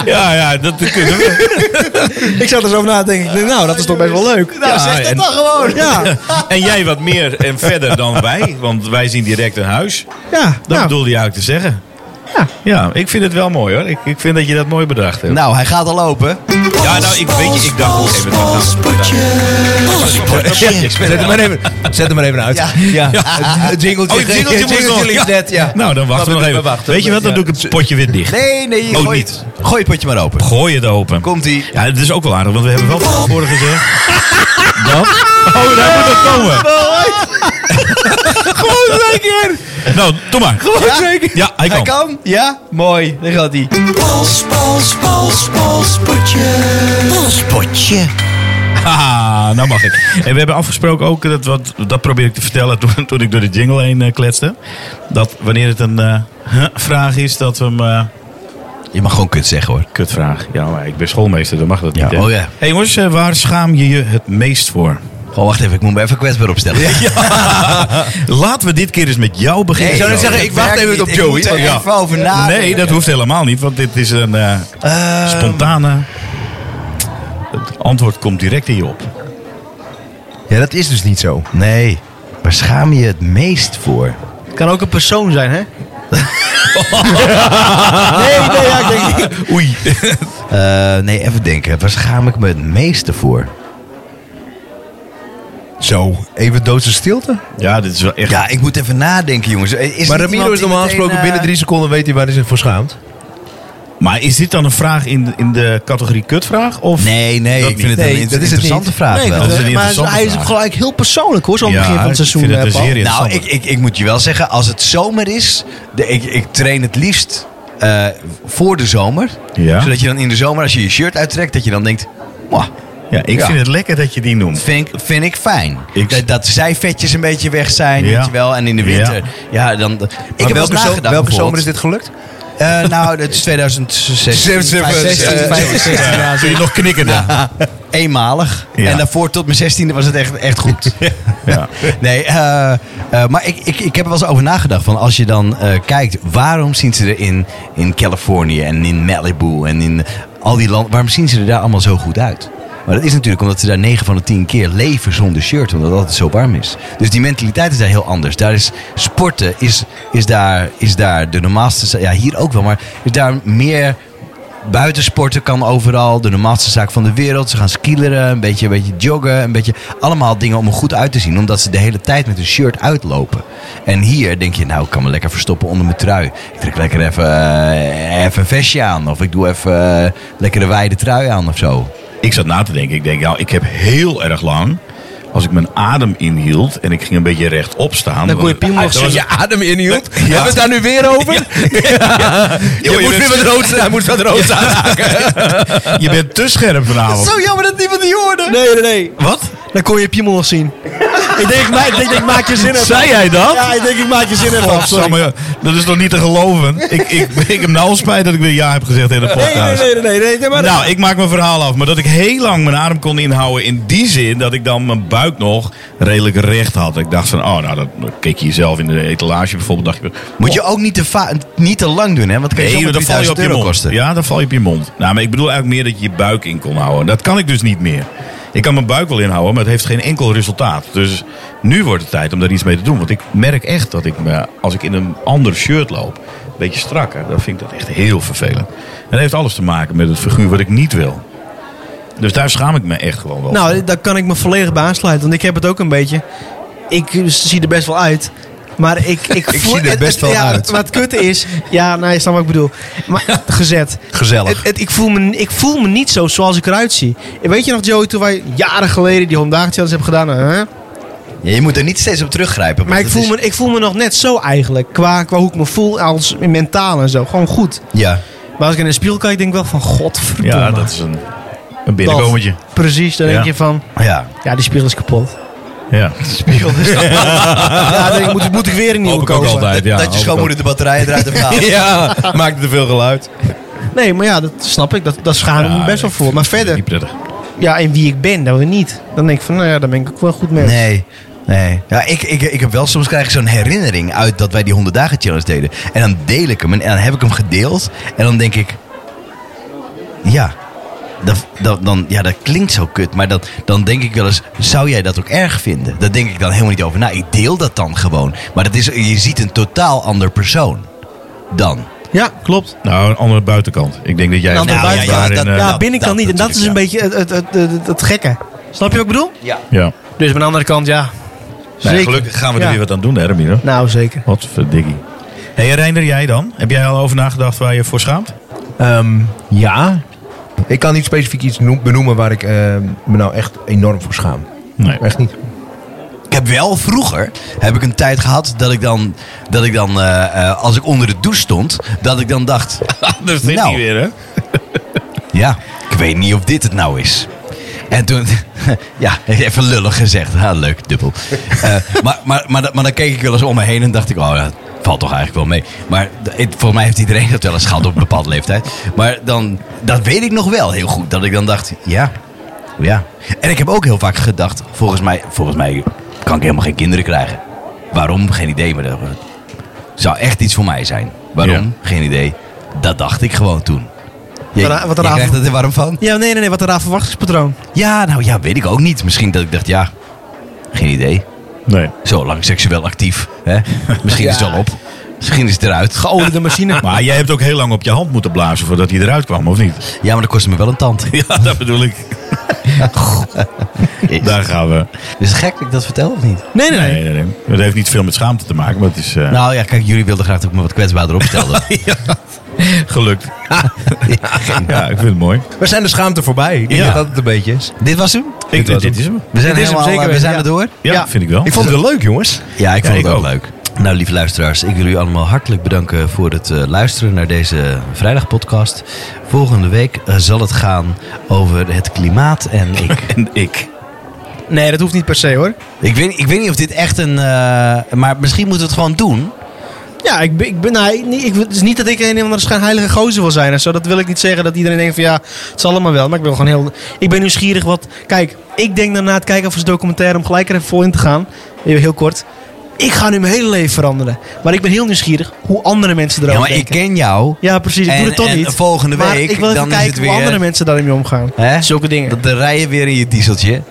[SPEAKER 3] ja, ja, dat kunnen we.
[SPEAKER 2] ik zat er zo over na te denken. ik denk, Nou, dat is toch best wel leuk.
[SPEAKER 3] Ja, zeg dat en- dan
[SPEAKER 2] gewoon. Ja,
[SPEAKER 3] en jij wat meer en verder dan wij, want wij zien direct een huis.
[SPEAKER 2] ja.
[SPEAKER 3] Dat
[SPEAKER 2] nou,
[SPEAKER 3] bedoelde je eigenlijk te zeggen.
[SPEAKER 2] Ja.
[SPEAKER 3] ja, ik vind het wel mooi hoor. Ik, ik vind dat je dat mooi bedacht hebt.
[SPEAKER 1] Nou, hij gaat al lopen.
[SPEAKER 3] ja, nou, ik weet je, ik dacht ook even dat
[SPEAKER 5] Zet hem maar even, zet hem maar even uit.
[SPEAKER 1] Ja, ja.
[SPEAKER 5] Het jingeltje,
[SPEAKER 3] Oh, het jingeltje
[SPEAKER 5] het
[SPEAKER 3] moet nog,
[SPEAKER 5] links
[SPEAKER 3] ja.
[SPEAKER 5] net, ja.
[SPEAKER 3] Nou, dan wachten we nog even. Weet je wat, dan doe ik het potje weer dicht.
[SPEAKER 1] Nee, nee,
[SPEAKER 5] Oh,
[SPEAKER 3] Ook
[SPEAKER 1] gooi,
[SPEAKER 3] niet.
[SPEAKER 1] gooi het potje maar open.
[SPEAKER 3] Gooi het open.
[SPEAKER 1] Komt-ie.
[SPEAKER 3] Ja, het is ook wel aardig, want we hebben wel van tevoren gezegd. Dat. Oh, daar moet het komen. Gewoon zeker. Nou, doe maar.
[SPEAKER 1] Ja?
[SPEAKER 3] Ja,
[SPEAKER 1] Hij
[SPEAKER 3] hij kan.
[SPEAKER 1] kan? Ja? Mooi, daar gaat hij.
[SPEAKER 6] Pals, pals, pals, palspotje. Palspotje.
[SPEAKER 3] Haha, nou mag ik. En we hebben afgesproken ook, dat, wat, dat probeer ik te vertellen toen, toen ik door de jingle heen eh, kletste. Dat wanneer het een eh, huh, vraag is, dat we hem... eh,
[SPEAKER 1] Je mag gewoon kut zeggen hoor.
[SPEAKER 3] kutvraag. Ja, maar ik ben schoolmeester, dan mag dat niet.
[SPEAKER 1] Ja,
[SPEAKER 3] hè?
[SPEAKER 1] oh ja.
[SPEAKER 3] hey, jongens, eh, waar schaam je je het meest voor?
[SPEAKER 1] Goh, wacht even, ik moet me even kwetsbaar opstellen.
[SPEAKER 3] Laten we dit keer eens met jou beginnen.
[SPEAKER 1] Nee,
[SPEAKER 3] Joey.
[SPEAKER 1] Joey, het werkt niet. Ik moet er
[SPEAKER 3] Oh, Ja.
[SPEAKER 1] even over nadenken.
[SPEAKER 3] Nee, dat hoeft helemaal niet, want dit is een eh, spontane. Het antwoord komt direct in je op.
[SPEAKER 5] Ja, dat is dus niet zo.
[SPEAKER 1] Nee, waar schaam je het meest voor?
[SPEAKER 2] Kan ook een persoon zijn, hè?
[SPEAKER 1] Nee, nee, ja, ik denk... Oei. nee, even denken. Waar schaam ik me het meeste voor?
[SPEAKER 5] Zo, even doodse stilte.
[SPEAKER 3] Ja, dit is wel echt.
[SPEAKER 1] Ja, ik moet even nadenken, jongens. Is
[SPEAKER 5] maar
[SPEAKER 1] er
[SPEAKER 5] Ramiro
[SPEAKER 1] iemand
[SPEAKER 5] is
[SPEAKER 1] die
[SPEAKER 5] normaal
[SPEAKER 1] meteen,
[SPEAKER 5] gesproken
[SPEAKER 1] eh,
[SPEAKER 5] binnen drie seconden weet hij waar hij zich voor schaamt.
[SPEAKER 3] Maar is dit dan een vraag in de, in de categorie kutvraag? Of?
[SPEAKER 1] Nee, nee,
[SPEAKER 3] Dat
[SPEAKER 1] ik
[SPEAKER 3] vind
[SPEAKER 1] vind
[SPEAKER 3] ik
[SPEAKER 1] het
[SPEAKER 3] niet.
[SPEAKER 1] een
[SPEAKER 5] dat is het
[SPEAKER 1] interessante
[SPEAKER 5] niet.
[SPEAKER 1] vraag
[SPEAKER 2] nee,
[SPEAKER 1] wel.
[SPEAKER 2] dat-
[SPEAKER 3] is een
[SPEAKER 2] maar
[SPEAKER 3] interessante
[SPEAKER 2] hij is
[SPEAKER 3] vraag.
[SPEAKER 2] gelijk heel persoonlijk, hoor. Zo'n begin van het seizoen,
[SPEAKER 3] Ik vind
[SPEAKER 2] eh,
[SPEAKER 3] het een
[SPEAKER 2] Paul.
[SPEAKER 3] zeer
[SPEAKER 1] Nou, ik,
[SPEAKER 3] interessante.
[SPEAKER 1] ik, ik moet je wel zeggen, als het zomer is, de, ik, ik train het liefst eh, voor de zomer.
[SPEAKER 3] Ja.
[SPEAKER 1] Zodat je dan in de zomer, als je je shirt uittrekt, dat je dan denkt, "Mwah,
[SPEAKER 3] ja, ik
[SPEAKER 1] Ja.
[SPEAKER 3] vind het lekker dat je die noemt.
[SPEAKER 1] vind, ik- vind ik fijn.
[SPEAKER 3] Ik-
[SPEAKER 1] dat, dat zijvetjes een beetje weg zijn,
[SPEAKER 3] Ja.
[SPEAKER 1] weet je wel. En in de winter,
[SPEAKER 3] Ja.
[SPEAKER 1] ja, dan... Ik heb wel
[SPEAKER 5] welke,
[SPEAKER 1] eens
[SPEAKER 5] zo-
[SPEAKER 1] nagedacht
[SPEAKER 5] welke zomer
[SPEAKER 1] bijvoorbeeld.
[SPEAKER 5] is dit gelukt?
[SPEAKER 1] Eh, nou, het is 2016.
[SPEAKER 5] 2016,
[SPEAKER 1] 2016,
[SPEAKER 5] eh,
[SPEAKER 1] 2016.
[SPEAKER 3] Ja, Kun je nog knikken dan?
[SPEAKER 1] Eenmalig.
[SPEAKER 3] Ja.
[SPEAKER 1] En daarvoor tot mijn zestiende was het echt, echt goed.
[SPEAKER 3] Ja.
[SPEAKER 1] Nee, eh, eh, maar ik, ik, ik heb er wel eens over nagedacht. Van als je dan eh, kijkt, waarom zien ze er in, in Californië en in Malibu en in al die landen... Waarom zien ze er daar allemaal zo goed uit? Maar dat is natuurlijk omdat ze daar 9 van de 10 keer leven zonder shirt. Omdat het altijd zo warm is. Dus die mentaliteit is daar heel anders. Daar is sporten, is, is, daar, is daar de normaalste... Ja, hier ook wel, maar is daar meer Buitensporten kan overal, de normaalste zaak van de wereld. Ze gaan skileren, een beetje, een beetje joggen, een beetje allemaal dingen om er goed uit te zien. Omdat ze de hele tijd met een shirt uitlopen. En hier denk je, nou ik kan me lekker verstoppen onder mijn trui. Ik trek lekker even, eh, even een vestje aan of ik doe even eh, lekker een wijde trui aan of zo.
[SPEAKER 3] Ik zat na te denken. Ik denk, nou, ik heb heel erg lang. Als ik mijn adem inhield en ik ging een beetje rechtop staan.
[SPEAKER 2] Dan kon je
[SPEAKER 3] dan-
[SPEAKER 2] piemel
[SPEAKER 3] dan was-
[SPEAKER 5] je adem inhield. Ah, Ja.
[SPEAKER 3] Hebben we het
[SPEAKER 5] het daar nu weer over?
[SPEAKER 3] Joh, je bent-
[SPEAKER 5] rood, hij moest wat rood
[SPEAKER 3] Je bent te scherp vanavond.
[SPEAKER 2] Zo jammer dat niemand die hoorde. Nee, nee, nee.
[SPEAKER 3] Wat?
[SPEAKER 2] Dan kon je piemel nog zien. ik, denk, ik, ma- ik denk, ik maak je zin
[SPEAKER 3] Zei jij dat?
[SPEAKER 2] Ja, ik denk, ik maak je zin even af. Sorry.
[SPEAKER 3] Godsamme, joh. dat is toch niet te geloven? ik, ik, ik heb nou al spijt dat ik weer ja heb gezegd in de podcast.
[SPEAKER 2] Nee, nee, nee, nee, nee, nee, nee, maar
[SPEAKER 3] Nou, ik maak mijn verhaal af. Maar dat ik heel lang mijn adem kon inhouden. In die zin dat ik dan mijn buik nog redelijk recht had. Ik dacht van, oh, nou, dat dan keek je jezelf in de etalage bijvoorbeeld. Dacht je,
[SPEAKER 1] Moet je ook niet te, va- Ah, niet te lang doen, hè? Want dan kan je
[SPEAKER 3] Nee,
[SPEAKER 1] zomaar
[SPEAKER 3] dan val je op
[SPEAKER 1] 3000
[SPEAKER 3] je
[SPEAKER 1] euro
[SPEAKER 3] mond.
[SPEAKER 1] kosten.
[SPEAKER 3] Ja, dan val je op je mond. Nou, maar ik bedoel eigenlijk meer dat je je buik in kon houden. Dat kan ik dus niet meer. Ik kan mijn buik wel inhouden, maar het heeft geen enkel resultaat. Dus nu wordt het tijd om daar iets mee te doen. Want ik merk echt dat ik me, als ik in een ander shirt loop, een beetje strakker, dan vind ik dat echt heel vervelend. En dat heeft alles te maken met het figuur wat ik niet wil. Dus daar schaam ik me echt gewoon wel.
[SPEAKER 2] Nou, daar kan ik me volledig bij aansluiten. Want ik heb het ook een beetje. Ik eh, zie er best wel uit. Maar ik, ik, voel-
[SPEAKER 5] zie er
[SPEAKER 2] het-
[SPEAKER 5] best
[SPEAKER 2] het-
[SPEAKER 5] wel
[SPEAKER 2] ja,
[SPEAKER 5] uit.
[SPEAKER 2] het- Maar het kutte is... Ja, nou, je snapt wat ik bedoel. Maar, gezet.
[SPEAKER 5] Gezellig.
[SPEAKER 2] Het, het- ik, voel me, ik voel me niet zo zoals ik eruit zie. En Weet je nog, Joey, toen wij jaren geleden die Hondaag Challenge hebben gedaan? hè?
[SPEAKER 1] Ja, je moet er niet steeds op teruggrijpen. want
[SPEAKER 2] Maar ik
[SPEAKER 1] dat
[SPEAKER 2] voel,
[SPEAKER 1] is-
[SPEAKER 2] me, ik voel me nog net zo eigenlijk. Qua, qua hoe ik me voel als mentaal en zo. Gewoon goed.
[SPEAKER 1] Ja.
[SPEAKER 2] Maar als ik in de spiegel kijk, denk ik wel van... Godverdomme.
[SPEAKER 3] ja, dat is een, een
[SPEAKER 2] Dat-
[SPEAKER 3] binnenkomertje.
[SPEAKER 2] Precies, dan
[SPEAKER 3] Ja.
[SPEAKER 2] denk je van...
[SPEAKER 1] Ja.
[SPEAKER 2] Ja, die spiegel is kapot.
[SPEAKER 3] Ja. Spiegel.
[SPEAKER 2] Ja, dan denk ik, moet, moet ik weer een nieuwe
[SPEAKER 3] Hoop ik ook
[SPEAKER 2] kopen.
[SPEAKER 3] altijd. Ja,
[SPEAKER 1] dat je
[SPEAKER 3] hoop ik ook.
[SPEAKER 1] schoonmoeder de batterijen eruit hebt gehaald.
[SPEAKER 5] ja, maakt te veel geluid.
[SPEAKER 2] Nee, maar ja, dat snap ik. Dat, dat schaam ik me
[SPEAKER 3] Ja,
[SPEAKER 2] best wel
[SPEAKER 3] ik
[SPEAKER 2] voor. Maar
[SPEAKER 3] vind
[SPEAKER 2] verder,
[SPEAKER 3] het Niet prettig.
[SPEAKER 2] ja, en wie ik ben, dat we niet. Dan denk ik van, nou ja, daar ben ik ook wel goed mee.
[SPEAKER 1] Nee. Nee. Ja, ik, ik, ik heb wel soms krijg ik zo'n herinnering uit dat wij die 100 dagen challenge deden. En dan deel ik hem en, en dan heb ik hem gedeeld. En dan denk ik. Ja. Dat, dat, dan, ja, dat klinkt zo kut, maar dat, dan denk ik wel eens, zou jij dat ook erg vinden? Daar denk ik dan helemaal niet over na. Ik deel dat dan gewoon. Maar dat is, je ziet een totaal ander persoon dan.
[SPEAKER 2] Ja, klopt.
[SPEAKER 3] Nou, een andere buitenkant. Ik denk dat jij...
[SPEAKER 2] Een andere
[SPEAKER 3] Nou, ja,
[SPEAKER 2] buitenkant.
[SPEAKER 3] daarin,
[SPEAKER 1] Dat-
[SPEAKER 3] eh,
[SPEAKER 2] ja, binnen kan
[SPEAKER 1] dat
[SPEAKER 2] niet. En dat is een beetje het, het, het, het, het gekke. Snap je wat ik bedoel?
[SPEAKER 1] Ja.
[SPEAKER 3] ja.
[SPEAKER 2] Dus aan de andere kant, ja.
[SPEAKER 3] Nee,
[SPEAKER 2] Zeker.
[SPEAKER 3] gelukkig gaan we er
[SPEAKER 2] Ja.
[SPEAKER 3] weer wat aan doen, hè, Ramiro?
[SPEAKER 2] Nou, zeker.
[SPEAKER 3] Wat verdikkie. Hé, hey, Reinder, jij dan? Heb jij al over nagedacht waar je voor schaamt?
[SPEAKER 5] ja. Ik kan niet specifiek iets noem- benoemen waar ik ehm, me nou echt enorm voor schaam.
[SPEAKER 3] Nee.
[SPEAKER 5] Echt niet.
[SPEAKER 1] Ik heb wel vroeger heb ik een tijd gehad dat ik dan, dat ik dan eh, eh, als ik onder de douche stond, dat ik dan dacht,
[SPEAKER 3] Anders zit
[SPEAKER 1] Nou.
[SPEAKER 3] hij weer, hè?
[SPEAKER 1] Ja, ik weet niet of dit het nou is. En toen, ja, even lullig gezegd. Ha, leuk, dubbel. Eh, maar, maar, maar, dan- maar dan keek ik wel eens om me heen en dacht ik, oh, dat valt toch eigenlijk wel mee. Maar d- het- volgens mij heeft iedereen dat wel eens gehad op een bepaalde leeftijd. Maar dan, dat weet ik nog wel heel goed. Dat ik dan dacht, ja, Ja. En ik heb ook heel vaak gedacht, volgens mij, volgens mij kan ik helemaal geen kinderen krijgen. Waarom? Geen idee. Maar dat eh, zou echt iets voor mij zijn. Waarom? Geen idee. Dat dacht ik gewoon toen. Je,
[SPEAKER 2] Wat een- wat een
[SPEAKER 1] je
[SPEAKER 2] avond.
[SPEAKER 1] krijgt het er warm van?
[SPEAKER 2] Ja, nee, nee, nee. Wat een raar verwachtingspatroon.
[SPEAKER 1] Ja, nou ja, weet ik ook niet. Misschien dat ik dacht, ja, geen idee.
[SPEAKER 3] Nee.
[SPEAKER 1] Zo lang seksueel actief. Hè? Misschien is het wel op. Misschien is het eruit.
[SPEAKER 2] Geoliede machine.
[SPEAKER 3] Maar jij hebt ook heel lang op je hand moeten blazen voordat hij eruit kwam, of niet?
[SPEAKER 1] Ja, maar dat kostte me wel een tand.
[SPEAKER 3] Ja, dat bedoel ik. Daar gaan we.
[SPEAKER 1] Is het gek dat ik dat vertel of niet?
[SPEAKER 2] Nee, nee, nee.
[SPEAKER 3] Nee, nee, nee. Dat heeft niet veel met schaamte te maken, maar het is eh,
[SPEAKER 1] Nou ja, kijk, jullie wilden graag dat ik me wat kwetsbaarder opstelde.
[SPEAKER 3] gelukt.
[SPEAKER 1] Ja.
[SPEAKER 3] Ja, ik vind het mooi.
[SPEAKER 5] We zijn de schaamte voorbij. Ik denk
[SPEAKER 3] Ja.
[SPEAKER 5] dat dat het een beetje is.
[SPEAKER 1] Dit was hem?
[SPEAKER 3] Ik,
[SPEAKER 5] was
[SPEAKER 3] dit is hem.
[SPEAKER 1] We zijn
[SPEAKER 5] Dit is hem
[SPEAKER 1] helemaal, eh,
[SPEAKER 5] zeker
[SPEAKER 1] we
[SPEAKER 5] weten,
[SPEAKER 1] zijn
[SPEAKER 5] ja.
[SPEAKER 1] er door.
[SPEAKER 3] Ja, vind ik wel.
[SPEAKER 5] Ik vond het leuk, jongens.
[SPEAKER 1] Ja, ik
[SPEAKER 3] Ja,
[SPEAKER 1] vond
[SPEAKER 3] ik
[SPEAKER 1] het ook
[SPEAKER 3] ook.
[SPEAKER 1] leuk. Nou, lieve luisteraars, ik wil jullie allemaal hartelijk bedanken voor het eh, luisteren naar deze vrijdagpodcast. Volgende week eh, zal het gaan over het klimaat en ik.
[SPEAKER 3] En ik.
[SPEAKER 2] Nee, dat hoeft niet per se hoor.
[SPEAKER 1] ik, weet, ik weet niet of dit echt een... eh, maar misschien moeten we het gewoon doen.
[SPEAKER 2] Ja, ik ben, ik ben nou, ik- niet- ik, het is niet dat ik een of andere schijnheilige gozer wil zijn en zo. Dat wil ik niet zeggen dat iedereen denkt van ja, het zal allemaal wel. Maar ik ben gewoon heel, ik ben nieuwsgierig wat, kijk, ik denk daarna het kijken van zo'n documentaire om gelijk er even vol in te gaan. Even heel kort. Ik ga nu mijn hele leven veranderen. Maar ik ben heel nieuwsgierig hoe andere mensen erover
[SPEAKER 1] Ja, maar ik
[SPEAKER 2] denken.
[SPEAKER 1] ken jou.
[SPEAKER 2] Ja, precies. Ik
[SPEAKER 1] En-
[SPEAKER 2] doe het toch
[SPEAKER 1] en
[SPEAKER 2] niet.
[SPEAKER 1] volgende
[SPEAKER 2] Maar
[SPEAKER 1] week,
[SPEAKER 2] ik wil even
[SPEAKER 1] dan is
[SPEAKER 2] kijken
[SPEAKER 1] het
[SPEAKER 2] hoe
[SPEAKER 1] weer-
[SPEAKER 2] andere mensen daarmee omgaan.
[SPEAKER 1] Hè?
[SPEAKER 2] Zulke dingen.
[SPEAKER 1] Dat de rijen weer in je dieseltje.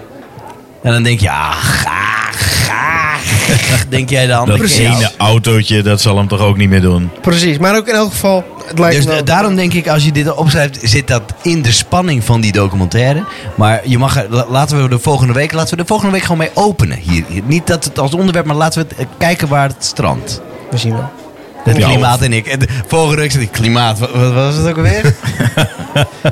[SPEAKER 1] En dan denk je, ah, ga, ga. Denk jij dan?
[SPEAKER 3] Dat
[SPEAKER 1] Ik ken jou.
[SPEAKER 3] ene autootje, dat zal hem toch ook niet meer doen?
[SPEAKER 2] Precies. Maar ook in elk geval, het lijkt
[SPEAKER 1] Dus
[SPEAKER 2] me wel-
[SPEAKER 1] da- daarom denk ik, als je dit opschrijft, zit dat in de spanning van die documentaire. Maar je mag, er- la- laten we de volgende week, laten we de volgende week gewoon mee openen. Hier, Hier- niet dat het als onderwerp, maar laten we het eh, kijken waar het strandt.
[SPEAKER 2] We zien wel.
[SPEAKER 1] Het
[SPEAKER 3] Ja,
[SPEAKER 1] klimaat en ik. En de- volgende week zit ik klimaat. Wat, wat was het ook alweer?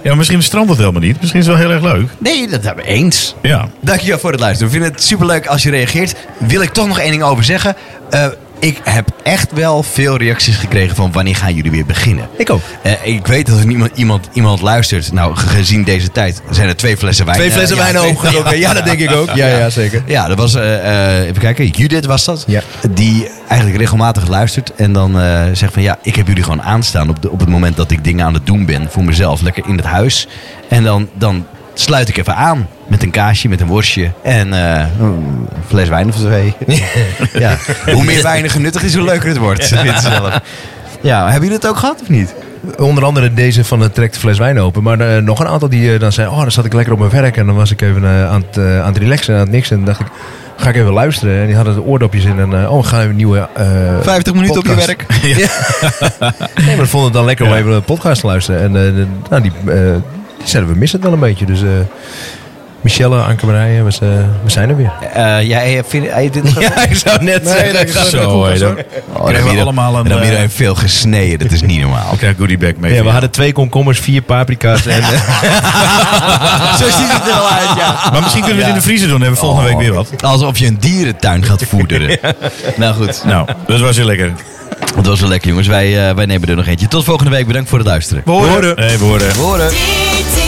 [SPEAKER 3] Ja, misschien strandt het helemaal niet. Misschien is het wel heel erg leuk.
[SPEAKER 1] nee, dat hebben we eens.
[SPEAKER 3] Ja.
[SPEAKER 1] Dankjewel voor het luisteren. We vinden het superleuk als je reageert. Wil ik toch nog één ding over zeggen. Eh, ik heb echt wel veel reacties gekregen van wanneer gaan jullie weer beginnen.
[SPEAKER 5] Ik ook.
[SPEAKER 1] Eh, ik weet dat er niemand, iemand, iemand luistert. Nou, ge- gezien deze tijd zijn er twee flessen wijn.
[SPEAKER 5] Twee
[SPEAKER 1] eh,
[SPEAKER 5] flessen
[SPEAKER 1] ja,
[SPEAKER 5] wijn
[SPEAKER 1] twee-
[SPEAKER 5] overgedronken. Ja, dat denk ik ook. Ja, ja, zeker.
[SPEAKER 1] Ja, dat was, eh, eh, even kijken, Judith was dat.
[SPEAKER 5] Ja.
[SPEAKER 1] Die eigenlijk regelmatig luistert en dan eh, zegt van ja, ik heb jullie gewoon aanstaan op, de, op het moment dat ik dingen aan het doen ben voor mezelf, lekker in het huis. En dan, dan sluit ik even aan met een kaasje, met een worstje en eh, een fles wijn of twee. ja. Hoe meer wijn genuttig is, hoe leuker het wordt, vindt ze zelf. Ja, hebben jullie het ook gehad of niet?
[SPEAKER 5] Onder andere deze van de trekt de fles wijn open. Maar eh, nog een aantal die eh, dan zei... Oh, dan zat ik lekker op mijn werk. En dan was ik even eh, aan, het, eh, aan het relaxen en aan het niks. En dan dacht ik... Ga ik even luisteren. En die hadden de oordopjes in. En eh, oh, we gaan even een nieuwe... eh
[SPEAKER 1] 50 minuten op je
[SPEAKER 5] podcast.
[SPEAKER 1] werk.
[SPEAKER 5] Nee, maar we vonden het dan lekker om even een podcast te luisteren. En eh, de- nou, die, eh, die zeiden, we missen het wel een beetje. Dus eh Michelle, Anke Marije, we, z- eh, we zijn er weer.
[SPEAKER 1] Eh, jij vindt... eh, dit-
[SPEAKER 5] ik zou net
[SPEAKER 3] Zo, hé, dan
[SPEAKER 1] Oh,
[SPEAKER 3] krijgen we
[SPEAKER 1] Ramiro-
[SPEAKER 3] allemaal een...
[SPEAKER 1] Ramiro
[SPEAKER 3] eh,
[SPEAKER 1] heeft veel gesneden, dat is niet normaal.
[SPEAKER 3] Ik krijg goodie bag mee.
[SPEAKER 5] Ja,
[SPEAKER 3] voor
[SPEAKER 5] we
[SPEAKER 3] jou.
[SPEAKER 5] hadden twee komkommers, vier paprika's en... eh,
[SPEAKER 1] Zo ziet het er wel uit, ja. Oh.
[SPEAKER 3] Maar misschien kunnen we het in de vriezer doen. Dan hebben we
[SPEAKER 5] Oh.
[SPEAKER 3] volgende week weer wat.
[SPEAKER 1] Alsof je een dierentuin gaat voederen. Nou goed,
[SPEAKER 3] Nou, dat was heel lekker.
[SPEAKER 1] dat was wel lekker jongens. Wij, eh, wij nemen er nog eentje. Tot volgende week. Bedankt voor het luisteren.
[SPEAKER 3] Hey, we horen.
[SPEAKER 1] Horen.
[SPEAKER 4] Dit